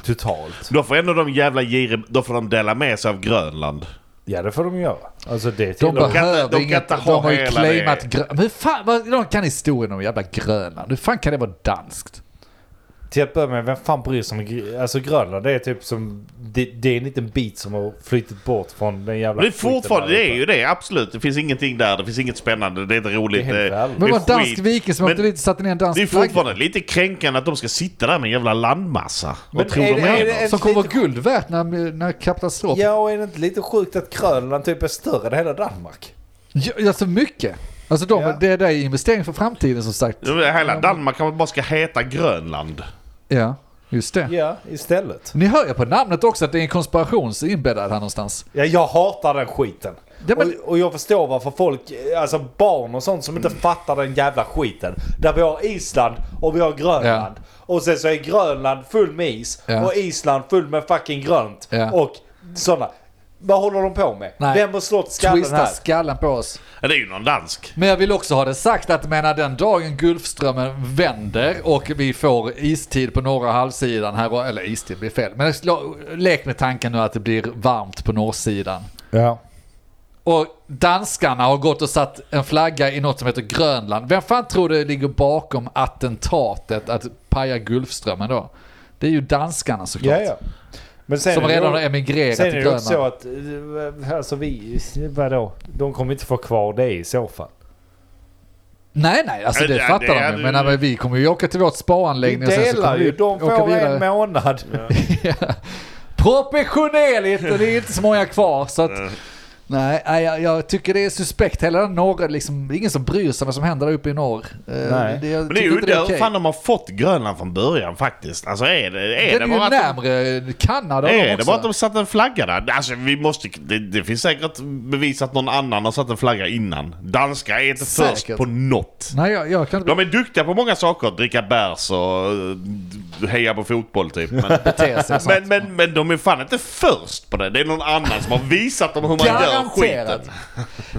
Speaker 2: totalt.
Speaker 3: Då får ändå de jävla giriga... Då får de dela med sig av Grönland.
Speaker 2: Ja det får de göra. Alltså det
Speaker 4: De
Speaker 2: tillhör-
Speaker 4: behöver
Speaker 3: de kan
Speaker 4: inget,
Speaker 3: inte
Speaker 4: de
Speaker 3: ha
Speaker 4: har ju
Speaker 3: hela
Speaker 4: claimat
Speaker 3: det.
Speaker 4: Grönland. Hur fan, vad, de kan historien om jävla Grönland. Hur fan kan det vara danskt?
Speaker 2: Till att börja med, vem fan bryr sig om Gr- alltså Grönland? Det är typ som... Det, det är en liten bit som har flyttit bort från den jävla
Speaker 3: Men det är
Speaker 2: skiten
Speaker 3: fortfarande,
Speaker 2: där
Speaker 3: det är
Speaker 2: uppe.
Speaker 3: ju det. Absolut. Det finns ingenting där. Det finns inget spännande. Det är inte roligt.
Speaker 2: Det är helt
Speaker 3: det-
Speaker 2: värdelöst.
Speaker 3: det
Speaker 4: Men det
Speaker 3: är
Speaker 4: var en dansk
Speaker 3: skit.
Speaker 4: viking som
Speaker 3: Men-
Speaker 4: åkte dit och satte ner en dansk
Speaker 3: Det är
Speaker 4: flagga.
Speaker 3: fortfarande lite kränkande att de ska sitta där med en jävla landmassa.
Speaker 2: Men
Speaker 3: Vad tror
Speaker 2: är
Speaker 3: de
Speaker 2: det- är
Speaker 3: är?
Speaker 2: det-
Speaker 3: då?
Speaker 4: Som kommer vara
Speaker 2: Lite-
Speaker 4: guld värt när, när katastrofen...
Speaker 2: Ja och är det inte lite sjukt att Grönland typ är större än hela Danmark?
Speaker 4: Ja. Ja, så mycket. Alltså de,
Speaker 2: Ja.
Speaker 4: det, det är investering för framtiden som sagt.
Speaker 3: Hela Danmark kanske bara ska heta Grönland.
Speaker 4: Ja, just det.
Speaker 2: Ja, istället.
Speaker 4: Ni hör ju på namnet också att det är en konspiration så inbäddad här någonstans.
Speaker 2: Ja, jag hatar den skiten.
Speaker 4: Ja, men-
Speaker 2: och, och jag förstår varför folk, alltså barn och sånt som inte fattar den jävla skiten. Där vi har Island och vi har Grönland. Och sen så är Grönland full med is
Speaker 4: Ja.
Speaker 2: och Island full med fucking grönt.
Speaker 4: Ja.
Speaker 2: Och sådana. Vad håller de på med?
Speaker 4: Nej.
Speaker 2: Vem har slått skallen
Speaker 4: Twista
Speaker 2: här?
Speaker 4: skallen på oss.
Speaker 3: Ja, Det är ju någon dansk.
Speaker 4: Men jag vill också ha det sagt att menar den dagen Gulfströmmen vänder och vi får istid på norra halvsidan här, eller istid blir fel, men slå- lek med tanken nu att det blir varmt på norrsidan.
Speaker 2: Ja.
Speaker 4: Och danskarna har gått och satt en flagga i något som heter Grönland. Vem fan tror det ligger bakom attentatet att paja Gulfströmmen då? Det är ju danskarna såklart.
Speaker 2: Ja, ja. Men sen
Speaker 4: Som
Speaker 2: är det
Speaker 4: redan
Speaker 2: ju-
Speaker 4: har emigrerat
Speaker 2: Sen
Speaker 4: till
Speaker 2: är det ju också så
Speaker 4: Grönland.
Speaker 2: att, eh, alltså vi, vadå? De kommer inte få kvar det i så fall.
Speaker 4: Nej, nej, alltså
Speaker 3: Ja,
Speaker 4: det
Speaker 3: det-
Speaker 4: fattar
Speaker 3: det-
Speaker 4: de
Speaker 3: det-
Speaker 4: ju. Men nej, vi kommer ju åka till vårt
Speaker 2: Vi
Speaker 4: spaanläggning och sen så kommer
Speaker 2: delar
Speaker 4: vi
Speaker 2: ju, de
Speaker 4: åka
Speaker 2: får en
Speaker 4: vidare.
Speaker 2: månad.
Speaker 4: Ja. Proportionerligt och det är inte så många kvar så att... Nej, nej, jag, jag tycker det är suspekt. Hela den norra, liksom, det är ingen som bryr sig vad som händer där uppe i norr. Eh,
Speaker 2: Nej.
Speaker 4: jag
Speaker 3: Men det är
Speaker 4: tycker
Speaker 3: ju
Speaker 4: inte
Speaker 3: udda hur
Speaker 4: okej.
Speaker 3: fan de har fått Grönland från början faktiskt. Alltså är det, är
Speaker 4: Den
Speaker 3: det,
Speaker 4: är
Speaker 3: bara
Speaker 4: ju
Speaker 3: att de,
Speaker 4: närmre Kanada har de
Speaker 3: är det
Speaker 4: också.
Speaker 3: bara att de satte en flagga där? Alltså vi måste... Det, det finns säkert bevis att någon annan har satt en flagga innan. Danskar är inte
Speaker 4: Säkert.
Speaker 3: först på något.
Speaker 4: Nej, jag, jag kan inte
Speaker 3: De är duktiga på många saker. Dricka bärs och eh, heja på fotboll typ. Men,
Speaker 4: bete sig
Speaker 3: men, men, men de är fan inte först på det. Det är någon annan som har visat dem hur man gör skiten.
Speaker 4: Garanterat.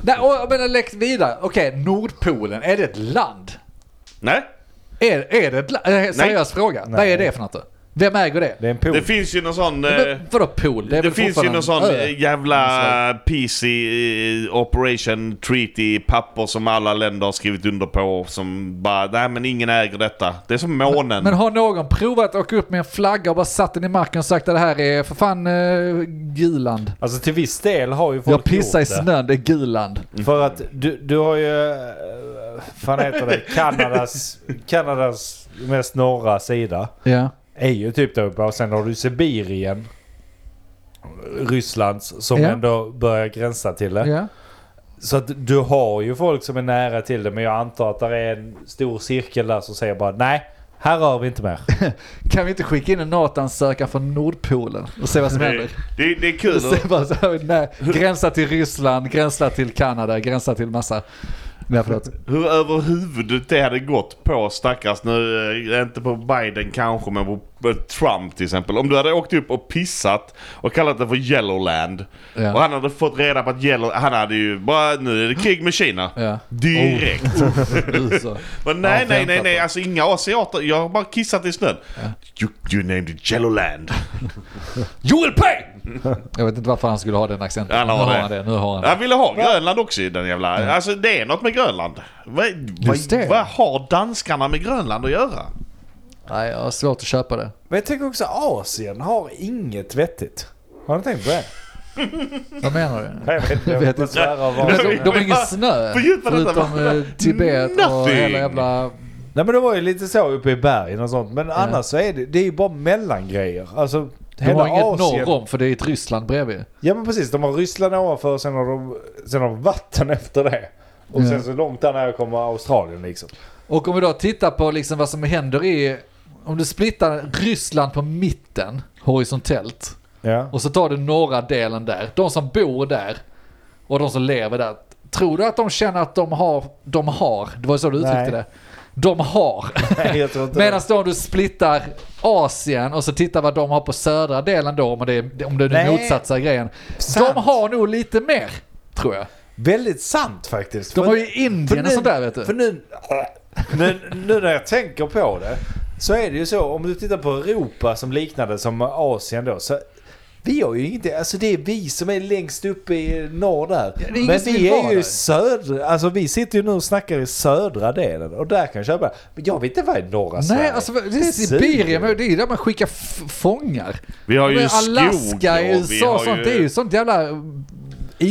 Speaker 4: Nej, och jag menar läckt vidare. Okej, Nordpolen, är det ett land?
Speaker 3: Nej?
Speaker 4: Är, är det ett land? Eh, Seriös fråga. Vad är det för något då? Vem äger det?
Speaker 2: Det är en pool.
Speaker 3: Det finns ju någon sån... eh,
Speaker 4: Men Vadå pool? Det, är
Speaker 3: Det
Speaker 4: väl
Speaker 3: finns ju någon sån eh,
Speaker 4: fortfarande en ö?
Speaker 3: jävla PC eh, Operation Treaty papper som alla länder har skrivit under på som bara, nej men ingen äger detta. Det är som månen.
Speaker 4: Men har någon provat att åka upp med en flagga och bara satt den i marken och sagt att det här är för fan eh, Guland?
Speaker 2: Alltså till viss del har ju folk
Speaker 4: Jag pissar i
Speaker 2: gjort det.
Speaker 4: snön, det är Guland.
Speaker 2: För att du, du har ju, eh, fan heter det, Kanadas, Kanadas mest norra sida.
Speaker 4: Ja.
Speaker 2: Är ju typ där uppe och sen har du Sibirien. Rysslands som
Speaker 4: Ja.
Speaker 2: ändå börjar gränsa till det.
Speaker 4: ja.
Speaker 2: Så att du har ju folk som är nära till det men jag antar att det är en stor cirkel där som säger bara nej. Här rör vi inte mer.
Speaker 4: Kan vi inte skicka in en NATO-ansökan från Nordpolen och se vad som
Speaker 3: Det,
Speaker 4: händer?
Speaker 3: det, det är kul.
Speaker 4: Och se vad som händer. Nej, gränsa till Ryssland, gränsa till Kanada, gränsa till massa... Nej, förlåt.
Speaker 3: Hur över huvudet det hade gått på stackars, nu eh, inte på Biden kanske men på eh, Trump till exempel. Om du hade åkt upp och pissat och kallat det för Yellowland.
Speaker 4: Ja.
Speaker 3: Och han hade fått reda på att Yellow, han hade ju bara nu är det krig med Kina.
Speaker 4: Ja. Oh.
Speaker 3: Direkt.
Speaker 4: Så.
Speaker 3: Men nej,
Speaker 4: Ja,
Speaker 3: nej, nej,
Speaker 4: vänta
Speaker 3: nej,
Speaker 4: då.
Speaker 3: alltså inga asiater. Jag har bara kissat i snön. You, you named it Yellowland. you will pay!
Speaker 4: Jag vet inte varför han skulle ha den accenten.
Speaker 3: Han har
Speaker 4: nu
Speaker 3: det.
Speaker 4: har han det. Nu har han det.
Speaker 3: Han ville ha Grönland också i den jävla... Alltså det är något med Grönland. Vad,
Speaker 4: Just
Speaker 3: vad,
Speaker 4: det.
Speaker 3: vad har danskarna med Grönland att göra?
Speaker 4: Nej, jag har svårt att köpa det.
Speaker 2: Men jag tycker också Asien har inget vettigt. Har ni tänkt på det?
Speaker 4: Vad menar du?
Speaker 2: Jag vet inte. Jag vet
Speaker 4: Vet inte.
Speaker 2: inte.
Speaker 4: Men
Speaker 3: Nej.
Speaker 2: Nej
Speaker 4: de, de har ingen snö.
Speaker 3: Fördjupa detta, va?
Speaker 4: Förutom eh, Tibet och
Speaker 3: Nothing.
Speaker 4: hela jävla...
Speaker 2: men det var ju lite så uppe i bergen och sånt. Men annars så är det, det är ju bara mellangrejer. Alltså
Speaker 4: De har inget
Speaker 2: Asien.
Speaker 4: norr om för det är ett Ryssland bredvid.
Speaker 2: Ja men precis, de har Ryssland ovanför sen har de, sen har de vatten efter det. Och
Speaker 4: Ja.
Speaker 2: sen så långt där när jag kommer Australien liksom.
Speaker 4: Och om vi då tittar på liksom vad som händer i... Om du splittar Ryssland på mitten horisontellt
Speaker 2: Ja.
Speaker 4: och så tar du norra delen där. De som bor där och de som lever där. Tror du att de känner att de har, de har, det var ju så du uttryckte
Speaker 2: Nej.
Speaker 4: det. De har.
Speaker 2: Nej, jag tror inte
Speaker 4: Medan då om du splittar Asien och så tittar vad de har på södra delen då, om det är, om det är den
Speaker 2: Nej.
Speaker 4: motsatta grejen.
Speaker 2: Sant.
Speaker 4: De har nog lite mer, tror jag.
Speaker 2: det. Väldigt sant faktiskt.
Speaker 4: De
Speaker 2: För-
Speaker 4: har ju Indien och sånt där vet du.
Speaker 2: För nu, nu, nu när jag tänker på det så är det ju så om du tittar på Europa som liknade som Asien då. Så vi har ju inte, alltså det är vi som är längst upp i norr där.
Speaker 4: det är ingen
Speaker 2: Men
Speaker 4: som
Speaker 2: vi
Speaker 4: vill
Speaker 2: är
Speaker 4: vara
Speaker 2: ju
Speaker 4: där.
Speaker 2: södra, alltså vi sitter ju nu och snackar i södra delen och där kan jag köpa. Men jag vet inte vad är norra
Speaker 4: Nej,
Speaker 2: Sverige.
Speaker 4: alltså det
Speaker 2: är
Speaker 4: är Sibirien, men det är ju där man skickar f- fångar.
Speaker 3: Vi har ju
Speaker 4: Men
Speaker 3: skog
Speaker 4: Alaska i
Speaker 3: och vi
Speaker 4: USA och
Speaker 3: har
Speaker 4: sånt,
Speaker 3: ju-
Speaker 4: det är ju sånt jävla
Speaker 3: Vi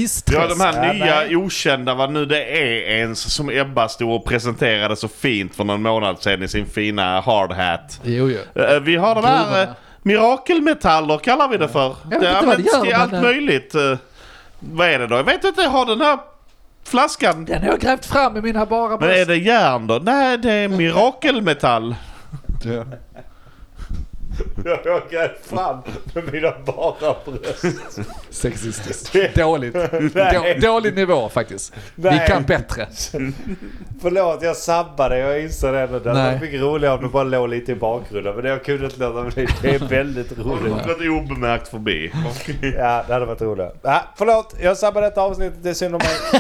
Speaker 4: isträsk.
Speaker 3: har de här
Speaker 2: Ja,
Speaker 3: nya
Speaker 2: nej.
Speaker 3: okända, vad nu det är ens, som Ebba stod och presenterade så fint för någon månad sedan i sin fina hard hat.
Speaker 4: Jo, jo.
Speaker 3: Eh, Vi har de här eh,
Speaker 4: Gruvorna.
Speaker 3: mirakelmetaller kallar vi det för.
Speaker 4: vet
Speaker 3: det
Speaker 4: inte vad det
Speaker 3: används
Speaker 4: gör,
Speaker 3: till
Speaker 4: men
Speaker 3: allt
Speaker 4: det-
Speaker 3: möjligt. Eh, Vad är det då? Jag vet inte, jag har den här flaskan.
Speaker 4: Den har jag grävt fram i mina bara
Speaker 3: Men är det järn då? Nej, det är mirakelmetall.
Speaker 2: Jag åker fram med mina bara bröst.
Speaker 4: Sexistiskt. Dåligt. Då, dålig nivå faktiskt.
Speaker 2: Nej.
Speaker 4: Vi kan bättre.
Speaker 2: Förlåt, jag sabbade. Jag inser det nu. Det hade
Speaker 4: Nej.
Speaker 2: varit mycket roligare om du bara låg lite i bakgrunden. Men jag kunde inte låta bli. Det är väldigt roligt.
Speaker 3: Gått obemärkt förbi.
Speaker 2: Ja, det hade varit roligt. Ja, förlåt, jag sabbade detta avsnittet. Det är synd om mig.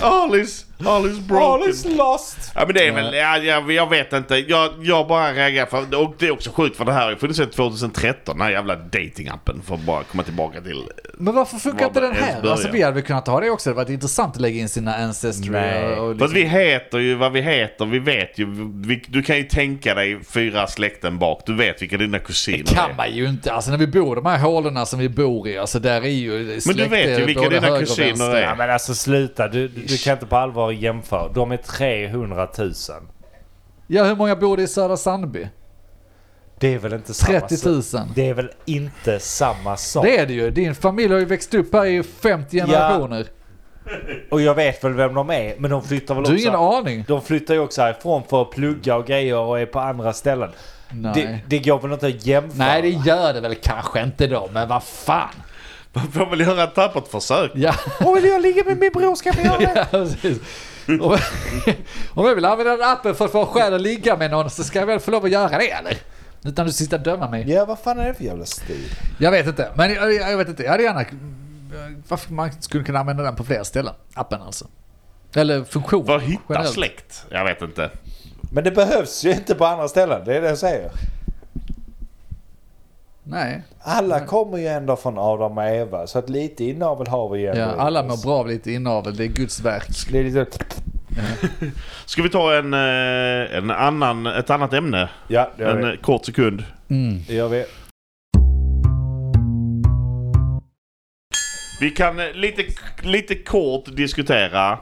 Speaker 3: All is, all is broken.
Speaker 2: All is lost.
Speaker 3: Ja men det är väl, ja, jag, jag vet inte. Jag, jag bara reagerar för, och det är också sjukt för det här har ju funnits sedan 2013, den här jävla datingappen för att bara komma tillbaka till.
Speaker 4: Men varför funkar
Speaker 3: Var
Speaker 4: inte den
Speaker 3: ens
Speaker 4: här?
Speaker 3: början?
Speaker 4: Alltså vi hade väl kunnat ha det också. Det hade varit intressant att lägga in sina Ancestry
Speaker 2: Nej.
Speaker 4: och, liksom- och
Speaker 3: För att vi heter ju vad vi heter, vi vet ju, vi, du kan ju tänka dig fyra släkten bak, du vet vilka dina kusiner
Speaker 4: Det kan
Speaker 3: är.
Speaker 4: man ju inte. Alltså när vi bor i de här hålorna som vi bor i, alltså där är ju
Speaker 3: Men du vet ju vilka dina
Speaker 2: Ja,
Speaker 3: kusiner är.
Speaker 2: men alltså sluta. Du, du kan inte på allvar jämföra. De är 300 000.
Speaker 4: Ja, hur många bor det i Södra Sandby?
Speaker 2: Det är väl inte samma
Speaker 4: 30
Speaker 2: sak?
Speaker 4: 000.
Speaker 2: Det är väl inte samma sak?
Speaker 4: Det är det ju. Din familj har ju växt upp här i 50 generationer.
Speaker 2: Och jag vet väl vem de är, men de flyttar väl
Speaker 4: Du har
Speaker 2: också...
Speaker 4: ingen aning.
Speaker 2: De flyttar ju också härifrån för att plugga och grejer och är på andra ställen.
Speaker 4: Nej.
Speaker 2: Det, det går väl inte att jämföra?
Speaker 4: Nej, det gör det väl kanske inte då, men vad fan.
Speaker 3: Man får väl göra ett tappert försök.
Speaker 4: Ja,
Speaker 2: Åh, vill jag ligga med min bror ska vi göra det?
Speaker 4: ja precis. Om, om jag vill använda den appen för att få skäl att ligga med någon så ska jag väl få lov att göra det eller? Utan att du sitter och dömer mig.
Speaker 2: Ja, vad fan är det för jävla stil?
Speaker 4: Jag vet inte, men jag, jag vet inte. Jag hade gärna... Varför man skulle kunna använda den på fler ställen. Appen alltså. Eller funktionen.
Speaker 3: För att hitta
Speaker 4: generellt.
Speaker 3: släkt. Jag vet inte.
Speaker 2: Men det behövs ju inte på andra ställen, det är det jag säger.
Speaker 4: Nej,
Speaker 2: Alla
Speaker 4: Mm.
Speaker 2: kommer ju ändå från Adam och Eva, så att lite inavel har vi ju ändå.
Speaker 4: ja,
Speaker 2: i
Speaker 4: alla
Speaker 2: oss.
Speaker 4: mår bra av lite inavel. Det är Guds verk.
Speaker 2: Det är lite...
Speaker 3: Ska vi ta en, eh, en annan, ett annat ämne?
Speaker 2: Ja, det gör
Speaker 3: En
Speaker 2: vi.
Speaker 3: eh, kort sekund.
Speaker 4: Mm.
Speaker 2: Det gör vi.
Speaker 3: Vi kan eh, lite, lite kort diskutera.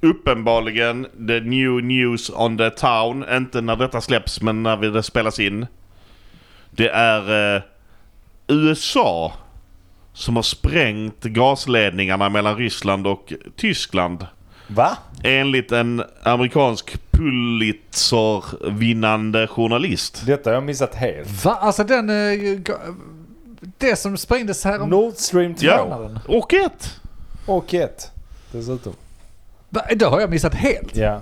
Speaker 3: Uppenbarligen the new news on the town. Inte när detta släpps men när det spelas in. Det är eh, USA som har sprängt gasledningarna mellan Ryssland och Tyskland.
Speaker 2: Va?
Speaker 3: Enligt en amerikansk Pulitzer-vinnande journalist.
Speaker 2: Detta har jag missat helt.
Speaker 4: Va? Alltså den... eh, ga- Det som sprängdes här om...
Speaker 2: Nord Stream 2
Speaker 3: Ja, och ett.
Speaker 2: och 1 dessutom.
Speaker 4: Va? Det har jag missat helt.
Speaker 2: Ja.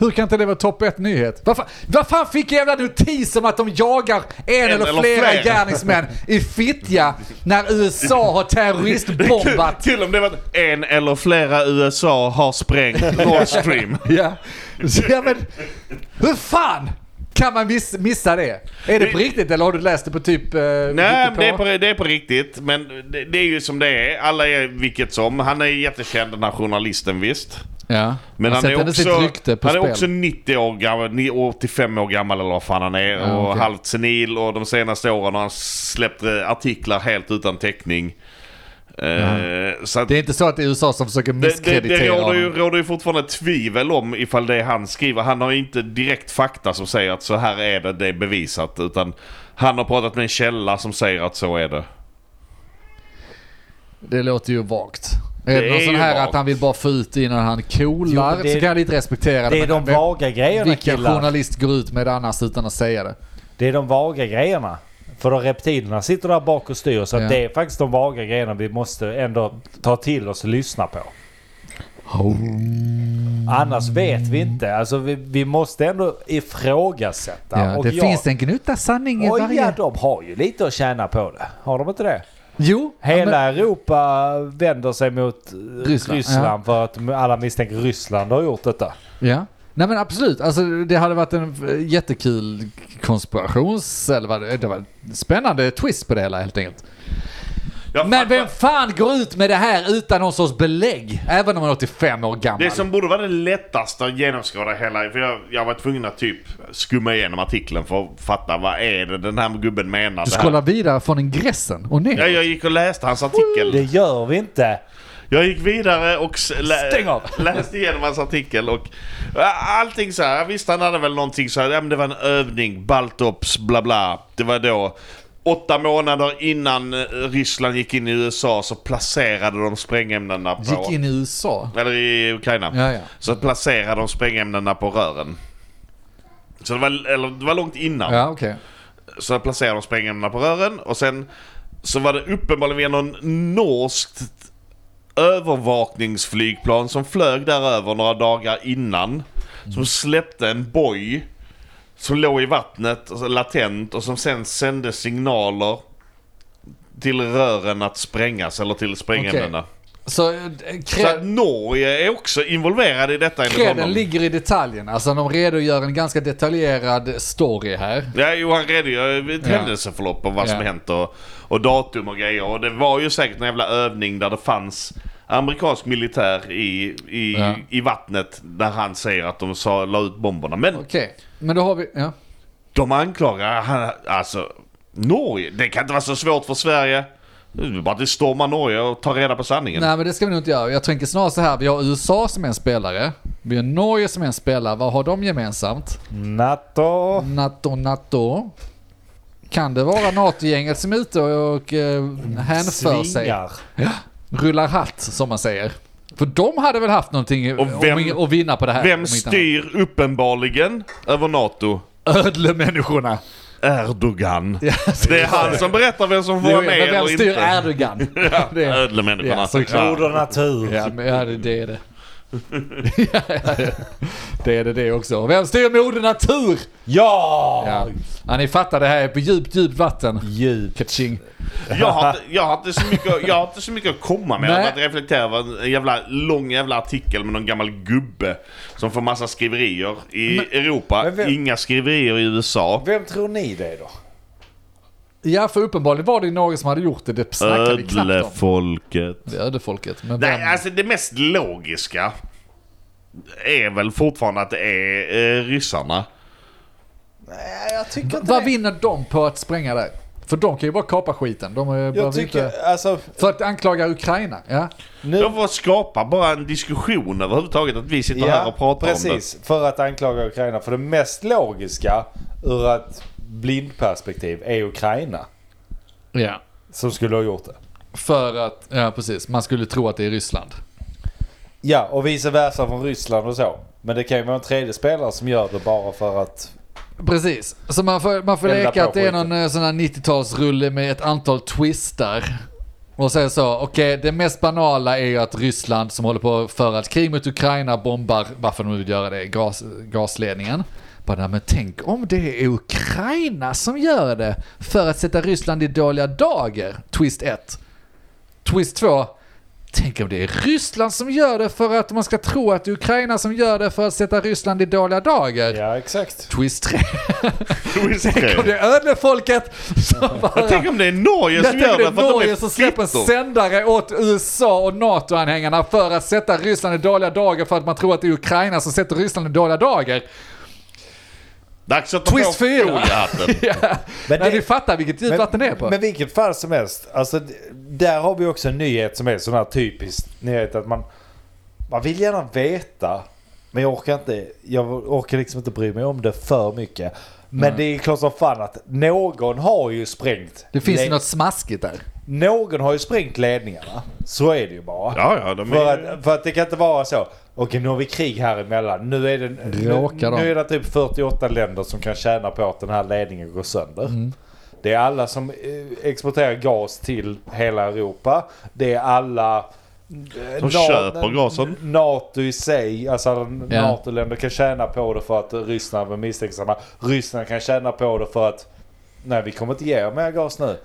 Speaker 4: Hur kan inte det vara topp 1 nyhet? Vad fan, vad fan fick jävla notis om att de jagar en, eller,
Speaker 3: eller
Speaker 4: flera,
Speaker 3: flera.
Speaker 4: gärningsmän i Fittja när USA har terroristbombat?
Speaker 3: Till och med det var att en eller flera USA har sprängt Nord Stream.
Speaker 4: ja. Så, ja, men hur fan kan man miss, missa det? Är det på riktigt eller har du läst det på typ... eh,
Speaker 3: Nej,
Speaker 4: riktigt
Speaker 3: men det är, på, det är på riktigt. Men det, det är ju som det är. Alla är vilket som. Han är jättekänd den här journalisten visst.
Speaker 4: Ja.
Speaker 3: Men han är,
Speaker 4: sätter
Speaker 3: också,
Speaker 4: sitt rykte på
Speaker 3: han
Speaker 4: spel.
Speaker 3: är också 90 år gammal, ni- 85 år gammal eller vad fan han är.
Speaker 4: Ja,
Speaker 3: och
Speaker 4: okej.
Speaker 3: halvt senil och de senaste åren har han släppt eh, artiklar helt utan täckning. Eh, så att
Speaker 4: Det är inte så att det är USA som försöker
Speaker 3: det, det, det
Speaker 4: misskreditera
Speaker 3: råder, ju,
Speaker 4: honom.
Speaker 3: råder ju fortfarande tvivel om ifall det han skriver. Han har ju inte direkt fakta som säger att så här är det, det är bevisat. Utan han har pratat med en källa som säger att så är det.
Speaker 4: Det låter ju vagt.
Speaker 3: Det
Speaker 4: är det någon
Speaker 3: är
Speaker 4: sån
Speaker 3: ju
Speaker 4: här
Speaker 3: vagt.
Speaker 4: att han vill bara få ut det innan han coolar
Speaker 2: Jo, det-
Speaker 4: så kan jag inte respektera det.
Speaker 2: Det är
Speaker 4: men
Speaker 2: de
Speaker 4: vem-
Speaker 2: vaga grejerna
Speaker 4: Vilken
Speaker 2: killar.
Speaker 4: journalist går ut med det annars utan att säga det?
Speaker 2: Det är de vaga grejerna. För de reptilerna sitter där bak och styr. Så
Speaker 4: Ja.
Speaker 2: att det är faktiskt de vaga grejerna vi måste ändå ta till oss och lyssna på. Annars vet vi inte. Alltså vi, vi måste ändå ifrågasätta.
Speaker 4: Ja,
Speaker 2: och
Speaker 4: det
Speaker 2: jag,
Speaker 4: finns en gnutta sanning i
Speaker 2: Oj, ja,
Speaker 4: varje...
Speaker 2: de har ju lite att tjäna på det. Har de inte det?
Speaker 4: Jo,
Speaker 2: Hela
Speaker 4: men,
Speaker 2: Europa vänder sig mot eh,
Speaker 4: Ryssland,
Speaker 2: Ryssland, för att alla misstänker Ryssland har gjort detta.
Speaker 4: ja. Nej men absolut, alltså, det hade varit en eh, jättekul konspirations... Eller vad det, det var en spännande twist på det hela helt enkelt.
Speaker 3: Jag
Speaker 4: Men
Speaker 3: fattar-
Speaker 4: vem fan går ut med det här utan någon sorts belägg? Även om man är 85 år gammal.
Speaker 3: Det som borde vara det lättaste att genomskåda hela... För jag, jag var tvungen att typ skumma igenom artikeln för att fatta vad är det den här gubben menar.
Speaker 4: Du
Speaker 3: Det här-
Speaker 4: scrollar vidare från ingressen och ner.
Speaker 3: Ja, jag gick och läste hans artikel.
Speaker 2: Det gör vi inte.
Speaker 3: Jag gick vidare och s- lä-
Speaker 4: Stäng av!
Speaker 3: läste igenom hans artikel och allting så här. Visst han hade väl någonting så här, ja men det var en övning, Baltops, bla bla. Det var då åtta månader innan eh, Ryssland gick in i USA så placerade de sprängämnena på...
Speaker 4: Gick in i USA.
Speaker 3: Eller i Ukraina.
Speaker 4: Ja, ja.
Speaker 3: Så placerade de sprängämnena på rören. Så det var, eller, det var långt innan.
Speaker 4: Ja, okej.
Speaker 3: Så placerade de sprängämnena på rören och sen så var det uppenbarligen någon norskt övervakningsflygplan som flög där över några dagar innan. Som släppte en boj som låg i vattnet alltså latent och som sen sände signaler till rören att sprängas eller till sprängämnena.
Speaker 4: Så eh,
Speaker 3: Så att
Speaker 4: cred,
Speaker 3: Norge är också involverad i detta enligt
Speaker 4: creden
Speaker 3: honom.
Speaker 4: ligger i detaljerna. Alltså de redogör en ganska detaljerad story här.
Speaker 3: Ja, jo, han redogör för ett
Speaker 4: Ja.
Speaker 3: händelseförlopp och vad som
Speaker 4: Ja.
Speaker 3: hänt och, och datum och grejer. Och det var ju säkert en jävla övning där det fanns amerikansk militär i, i,
Speaker 4: Ja.
Speaker 3: i vattnet där han säger att de sa, la ut bomberna. Men
Speaker 4: Okej, men då har vi... Ja.
Speaker 3: de anklagar han, alltså Norge. Det kan inte vara så svårt för Sverige. Det är bara att storma Norge och ta reda på sanningen.
Speaker 4: Nej men det ska vi nog inte göra. Jag tänker snarare så här, vi har USA som är en spelare. Vi har Norge som är en spelare. Vad har de gemensamt?
Speaker 2: Nato.
Speaker 3: Oh.
Speaker 4: Nato, Nato. Kan det vara NATO-gänget som är ute och eh, hänför sig?
Speaker 2: Svingar.
Speaker 4: Rullar hatt, som man säger. För de hade väl haft någonting
Speaker 3: Och vem-
Speaker 4: om ing- att vinna på det här. om
Speaker 3: Vem
Speaker 4: inte annat.
Speaker 3: styr uppenbarligen över NATO?
Speaker 4: Ödlemänniskorna.
Speaker 3: Erdogan.
Speaker 4: Ja,
Speaker 3: Det är han som berättar vem som får
Speaker 4: Jo,
Speaker 3: vara
Speaker 4: men
Speaker 3: med
Speaker 4: vem
Speaker 3: eller
Speaker 4: styr
Speaker 3: inte.
Speaker 4: Erdogan? Det är-
Speaker 3: Ödlemänniskorna.
Speaker 4: Ja, såklart.
Speaker 2: Moder natur.
Speaker 4: Ja, men, ja det, det är det. ja, ja, ja. det är det det också. Vem styr moder natur?
Speaker 2: Ja!
Speaker 4: Ja. ja, ni fattar det här är på djupt, djupt vatten.
Speaker 2: Djup.
Speaker 4: Kaching.
Speaker 3: Jag har, inte, jag, har inte så mycket, jag har inte så mycket att komma med.
Speaker 4: Nej.
Speaker 3: Jag bara reflekterar över en jävla lång jävla artikel med någon gammal gubbe som får massa skriverier i Europa.
Speaker 2: Men vem-
Speaker 3: Inga skriverier i USA.
Speaker 2: Vem tror ni det är då?
Speaker 4: Ja, för uppenbarligen var det ju någon som hade gjort det. Det snackade vi knappt om.
Speaker 3: Ödlefolket.
Speaker 4: Det är ödefolket. Men
Speaker 3: Nej,
Speaker 4: vem?
Speaker 3: alltså det mest logiska är väl fortfarande att det är eh, ryssarna.
Speaker 2: Nej, jag tycker inte
Speaker 4: Vad
Speaker 2: det.
Speaker 4: vinner de på att spränga där? För de kan ju bara kapa skiten. De eh,
Speaker 2: Jag
Speaker 4: behöver
Speaker 2: tycker,
Speaker 4: inte...
Speaker 2: alltså,
Speaker 4: För att anklaga Ukraina, ja.
Speaker 2: nu...
Speaker 3: De får skapa bara en diskussion överhuvudtaget att vi sitter här och pratar om det.
Speaker 2: precis. För att anklaga Ukraina. För det mest logiska ur ett blindperspektiv är Ukraina.
Speaker 4: Ja.
Speaker 2: Som skulle ha gjort det.
Speaker 4: För att, ja precis, man skulle tro att det är Ryssland.
Speaker 2: Ja, och vice versa från Ryssland och så. Men det kan ju vara en tredje spelare som gör det bara för att...
Speaker 4: Precis, så man får, man får
Speaker 2: Elda
Speaker 4: leka
Speaker 2: på
Speaker 4: att det är
Speaker 2: skiten.
Speaker 4: någon eh, sån här 90-talsrulle med ett antal twistar. Och säger så, okej det mest banala är ju att Ryssland som håller på att föra ett krig mot Ukraina bombar, varför de nu vill göra det, gas, gasledningen. Bara, nej, men tänk om det är Ukraina som gör det för att sätta Ryssland i dåliga dagar. Twist 1. Twist 2. Tänk om det är Ryssland som gör det för att man ska tro att det är Ukraina som gör det för att sätta Ryssland i dåliga dagar.
Speaker 2: Ja, exakt.
Speaker 4: Twist 3.
Speaker 3: Twist tre.
Speaker 4: Om det är ödlefolket som bara...
Speaker 3: Jag tänker om det är Norge
Speaker 4: Jag
Speaker 3: som
Speaker 4: tänker
Speaker 3: gör
Speaker 4: det
Speaker 3: det
Speaker 4: är
Speaker 3: för att de
Speaker 4: Norge
Speaker 3: är
Speaker 4: som släpper
Speaker 3: fittor.
Speaker 4: sändare åt USA och NATO-anhängarna för att sätta Ryssland i dåliga dagar för att man tror att det är Ukraina som sätter Ryssland i dåliga dagar.
Speaker 3: Dags att ta
Speaker 4: Twist
Speaker 3: på
Speaker 4: fyra.
Speaker 3: foliehatten.
Speaker 4: Ja. Men
Speaker 2: Men det-
Speaker 4: ni fattar vilket djupt vatten det är på.
Speaker 2: Men vilket fall som helst. Alltså, d- där har vi också en nyhet som är sån här typisk nyhet att man... Man vill gärna veta. Men jag orkar inte. Jag orkar liksom inte bry mig om det för mycket. Men det är klart som fan att någon har ju sprängt.
Speaker 4: det finns ju
Speaker 2: led-
Speaker 4: något smaskigt där.
Speaker 2: Någon har ju sprängt ledningarna. Så är det ju bara.
Speaker 3: Ja, ja, de
Speaker 2: För
Speaker 3: är...
Speaker 2: att, för att det kan inte vara så. Okej, nu har vi krig här emellan. Nu är det, nu,
Speaker 4: Bråkar de.
Speaker 2: nu är det typ 48 länder som kan tjäna på att den här ledningen går sönder.
Speaker 4: Mm.
Speaker 2: Det är alla som eh, exporterar gas till hela Europa. Det är alla... Som
Speaker 3: köper gasen.
Speaker 2: NATO i sig, alltså alla
Speaker 4: Ja.
Speaker 2: NATO-länder kan tjäna på det för att Ryssland är misstänksamma. Ryssland kan tjäna på det för att nej, vi kommer inte ge er mer gas nu.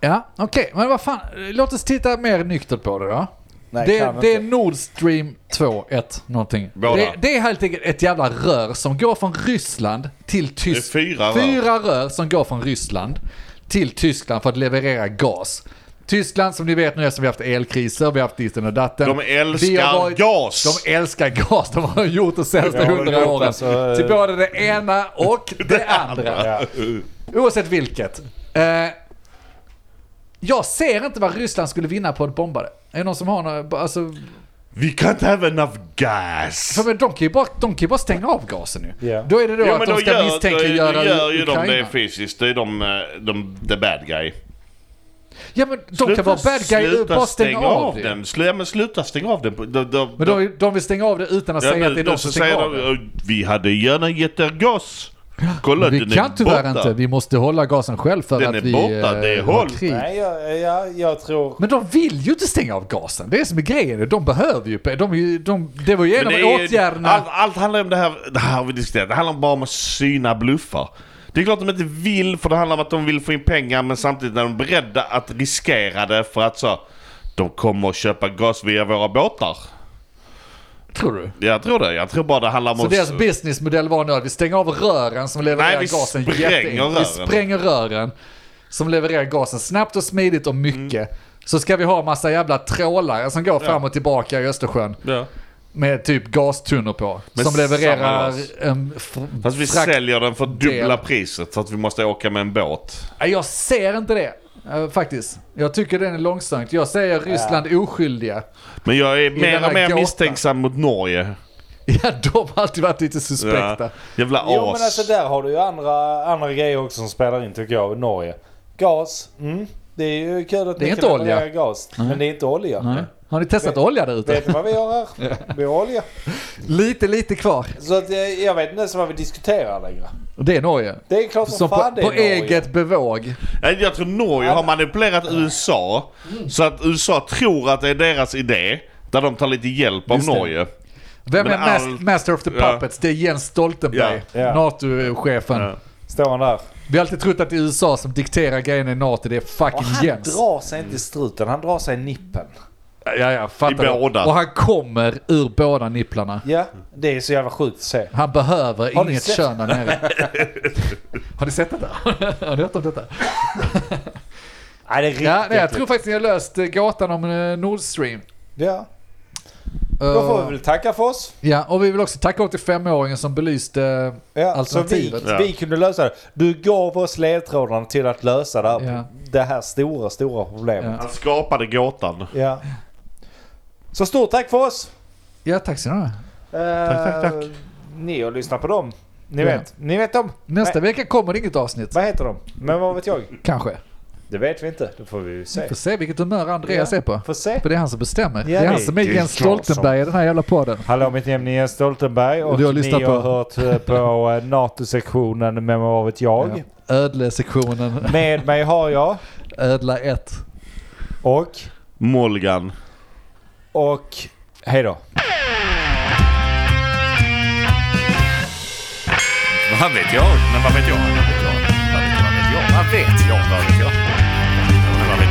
Speaker 4: Ja, okej. Men vad fan, låt oss titta mer nyktert på det då.
Speaker 2: Nej,
Speaker 4: det,
Speaker 2: kan
Speaker 4: det är
Speaker 2: inte.
Speaker 4: Nord Stream 2, 1, någonting.
Speaker 3: Båda.
Speaker 4: Det, det är helt enkelt ett jävla rör som går från Ryssland till Tyskland.
Speaker 3: fyra rör.
Speaker 4: fyra rör som går från Ryssland till Tyskland för att leverera gas. Tyskland som ni vet nu eftersom vi har haft elkriser, vi har haft ditten och datten.
Speaker 3: De älskar
Speaker 4: Vi har
Speaker 3: gas.
Speaker 4: De älskar gas, de har gjort det senaste
Speaker 2: Ja, de
Speaker 4: hundra
Speaker 2: har gjort
Speaker 4: åren.
Speaker 2: alltså, eh,
Speaker 4: Till både det ena och det, andra.
Speaker 2: Ja.
Speaker 4: Oavsett vilket. Eh, jag ser inte vad Ryssland skulle vinna på att bomba det. Är det någon som har något? Alltså,
Speaker 3: We can't have enough gas.
Speaker 4: för men de, kan ju bara, de kan ju bara stänga av gasen nu.
Speaker 2: Ja.
Speaker 4: Då är det då
Speaker 3: Ja,
Speaker 4: att
Speaker 3: men då
Speaker 4: de ska
Speaker 3: gör, då,
Speaker 4: misstänkliggöra
Speaker 3: då gör ju de
Speaker 4: Ukraina.
Speaker 3: det fysiskt. Det är de, eh, de the bad guy.
Speaker 4: ja men de kan vara bad guy, bara stänga av det.
Speaker 3: den. Sluta, men sluta stänga av den. De, de,
Speaker 4: Men de, de vill stänga av det utan att
Speaker 3: Ja,
Speaker 4: säga
Speaker 3: nu-
Speaker 4: att det är
Speaker 3: nu
Speaker 4: de
Speaker 3: så
Speaker 4: som stänger
Speaker 3: säger
Speaker 4: av det.
Speaker 3: de, "Eh, Vi hade gärna gett er gas. Kolla, den
Speaker 4: Vi
Speaker 3: är
Speaker 4: kan tyvärr
Speaker 3: borta.
Speaker 4: inte, vi måste hålla gasen själv för
Speaker 3: Den
Speaker 4: att
Speaker 3: är
Speaker 4: vi
Speaker 3: borta,
Speaker 4: eh,
Speaker 3: det är
Speaker 4: har
Speaker 3: håll.
Speaker 4: krig.
Speaker 2: Nej, jag, jag, jag tror...
Speaker 4: Men de vill ju inte stänga av gasen, det är som är grejen. De behöver ju, de, är ju- de, det var ju en
Speaker 3: Men
Speaker 4: av
Speaker 3: det är-
Speaker 4: åtgärderna.
Speaker 3: Allt, allt handlar om det här, det här har vi diskuterat. Det handlar bara om att syna bluffar. Det är klart de inte vill för det handlar om att de vill få in pengar men samtidigt är de beredda att riskera det för att så de kommer att köpa gas via våra båtar.
Speaker 4: Tror du?
Speaker 3: Jag tror det. Jag tror bara det handlar om
Speaker 4: Så
Speaker 3: att...
Speaker 4: deras businessmodell var nu att vi stänger av rören som levererar
Speaker 3: Nej, vi
Speaker 4: gasen
Speaker 3: spränger
Speaker 4: jätteenkelt.
Speaker 3: rören.
Speaker 4: Vi spränger rören som levererar gasen snabbt och smidigt och mycket.
Speaker 3: Mm.
Speaker 4: Så ska vi ha massa jävla trålare som går fram och tillbaka i Östersjön
Speaker 3: Ja.
Speaker 4: med typ gastunnor på.
Speaker 3: Men
Speaker 4: som
Speaker 3: samma
Speaker 4: levererar
Speaker 3: gas.
Speaker 4: en fr-
Speaker 3: Fast vi
Speaker 4: frakt-
Speaker 3: säljer den för dubbla
Speaker 4: del.
Speaker 3: priset så att vi måste åka med en båt.
Speaker 4: Nej, Jag ser inte det. eh, Faktiskt. Jag tycker den är långsamt. Jag säger Ryssland oskyldiga.
Speaker 3: Men jag är mer
Speaker 4: denna
Speaker 3: och mer
Speaker 4: gåta.
Speaker 3: misstänksam mot Norge.
Speaker 4: Ja, de har alltid varit lite suspekta.
Speaker 3: Ja. Jävla as.
Speaker 2: Jo men alltså där har du ju andra, andra grejer också som spelar in tycker jag. Norge. Gas. Mm. Det är ju kul att
Speaker 4: Det är
Speaker 2: ni
Speaker 4: inte
Speaker 2: kan
Speaker 4: olja.
Speaker 2: leverera gas. Men det är inte olja.
Speaker 4: Nej. Har ni testat olja där ute?
Speaker 2: Vet ni vad vi gör här? Vi har olja.
Speaker 4: Lite, lite kvar.
Speaker 2: Så att jag, jag vet inte ens vad vi diskuterar längre.
Speaker 4: Det är Norge.
Speaker 2: Det är klart som,
Speaker 4: Som på,
Speaker 2: fan det är
Speaker 4: på
Speaker 2: Norge.
Speaker 4: eget bevåg.
Speaker 3: Nej, Jag tror Norge har manipulerat USA
Speaker 4: Mm.
Speaker 3: så att USA tror att det är deras idé där de tar lite hjälp av
Speaker 4: Just det.
Speaker 3: Norge.
Speaker 4: Vem
Speaker 3: Men
Speaker 4: är mas-
Speaker 3: allt-
Speaker 4: Master of the
Speaker 3: Ja.
Speaker 4: Puppets? Det är Jens Stoltenberg,
Speaker 2: Ja, ja.
Speaker 4: NATO-chefen.
Speaker 3: Ja.
Speaker 2: Står han där.
Speaker 4: Vi har alltid trott att det är USA som dikterar grejerna i NATO, det är
Speaker 2: Och
Speaker 4: fucking
Speaker 2: han
Speaker 4: Jens.
Speaker 2: drar sig inte i struten, han drar sig i nippen.
Speaker 4: Ja, ja, fattar
Speaker 3: I
Speaker 4: du?
Speaker 3: båda.
Speaker 4: Och han kommer ur båda nipplarna.
Speaker 2: Ja, det är så jävla sjukt att se.
Speaker 4: Han behöver
Speaker 2: Har ni
Speaker 4: inget
Speaker 2: sett-
Speaker 4: kön där nere. har ni sett det där? Har ni hört om detta?
Speaker 2: Nej det är riktigt
Speaker 4: Ja, nej, jag
Speaker 2: äckligt.
Speaker 4: tror faktiskt ni har löst eh, gåtan om eh, Nord Stream.
Speaker 2: Ja, då får vi väl tacka för oss.
Speaker 4: Ja, och vi vill också tacka 85-åringen som belyste...
Speaker 2: Ja, så vi,
Speaker 4: Alternativet.
Speaker 3: Ja.
Speaker 2: vi kunde lösa det. Du gav oss ledtrådarna till att lösa det här,
Speaker 4: Ja.
Speaker 2: det här stora, stora problemet.
Speaker 3: Han skapade gåtan.
Speaker 2: Ja. Så stort tack för oss!
Speaker 4: Ja, tack så mycket.
Speaker 2: Tack,
Speaker 3: tack, tack.
Speaker 2: Ni har lyssnat på dem. Ni
Speaker 4: Ja.
Speaker 2: vet, ni vet dem.
Speaker 4: Nästa vecka kommer det inget avsnitt.
Speaker 2: Vad heter de? Men vad vet jag?
Speaker 4: Kanske.
Speaker 2: Det vet vi inte. Det får vi ju se.
Speaker 4: Får se vilket humör Andreas
Speaker 2: Ja,
Speaker 4: är på.
Speaker 2: får se.
Speaker 4: För det är han som bestämmer.
Speaker 2: Ja,
Speaker 4: det är han
Speaker 2: det
Speaker 4: som är
Speaker 2: är
Speaker 4: Jens
Speaker 2: Johnson.
Speaker 4: Stoltenberg i den här jävla podden.
Speaker 2: Hallå, mitt namn är Jens Stoltenberg och
Speaker 4: Du har
Speaker 2: ni
Speaker 4: lyssnat
Speaker 2: har
Speaker 4: på-
Speaker 2: hört eh, på eh, NATO-sektionen med vad vet jag.
Speaker 4: Ödlesektionen,
Speaker 2: Med mig har jag
Speaker 4: ödla 1.
Speaker 2: och
Speaker 3: Molgan.
Speaker 2: och hej då.
Speaker 6: Vad vet jag? Men vad vet jag? Vad vet jag? Vad vet jag? Vad vet jag? Men Vad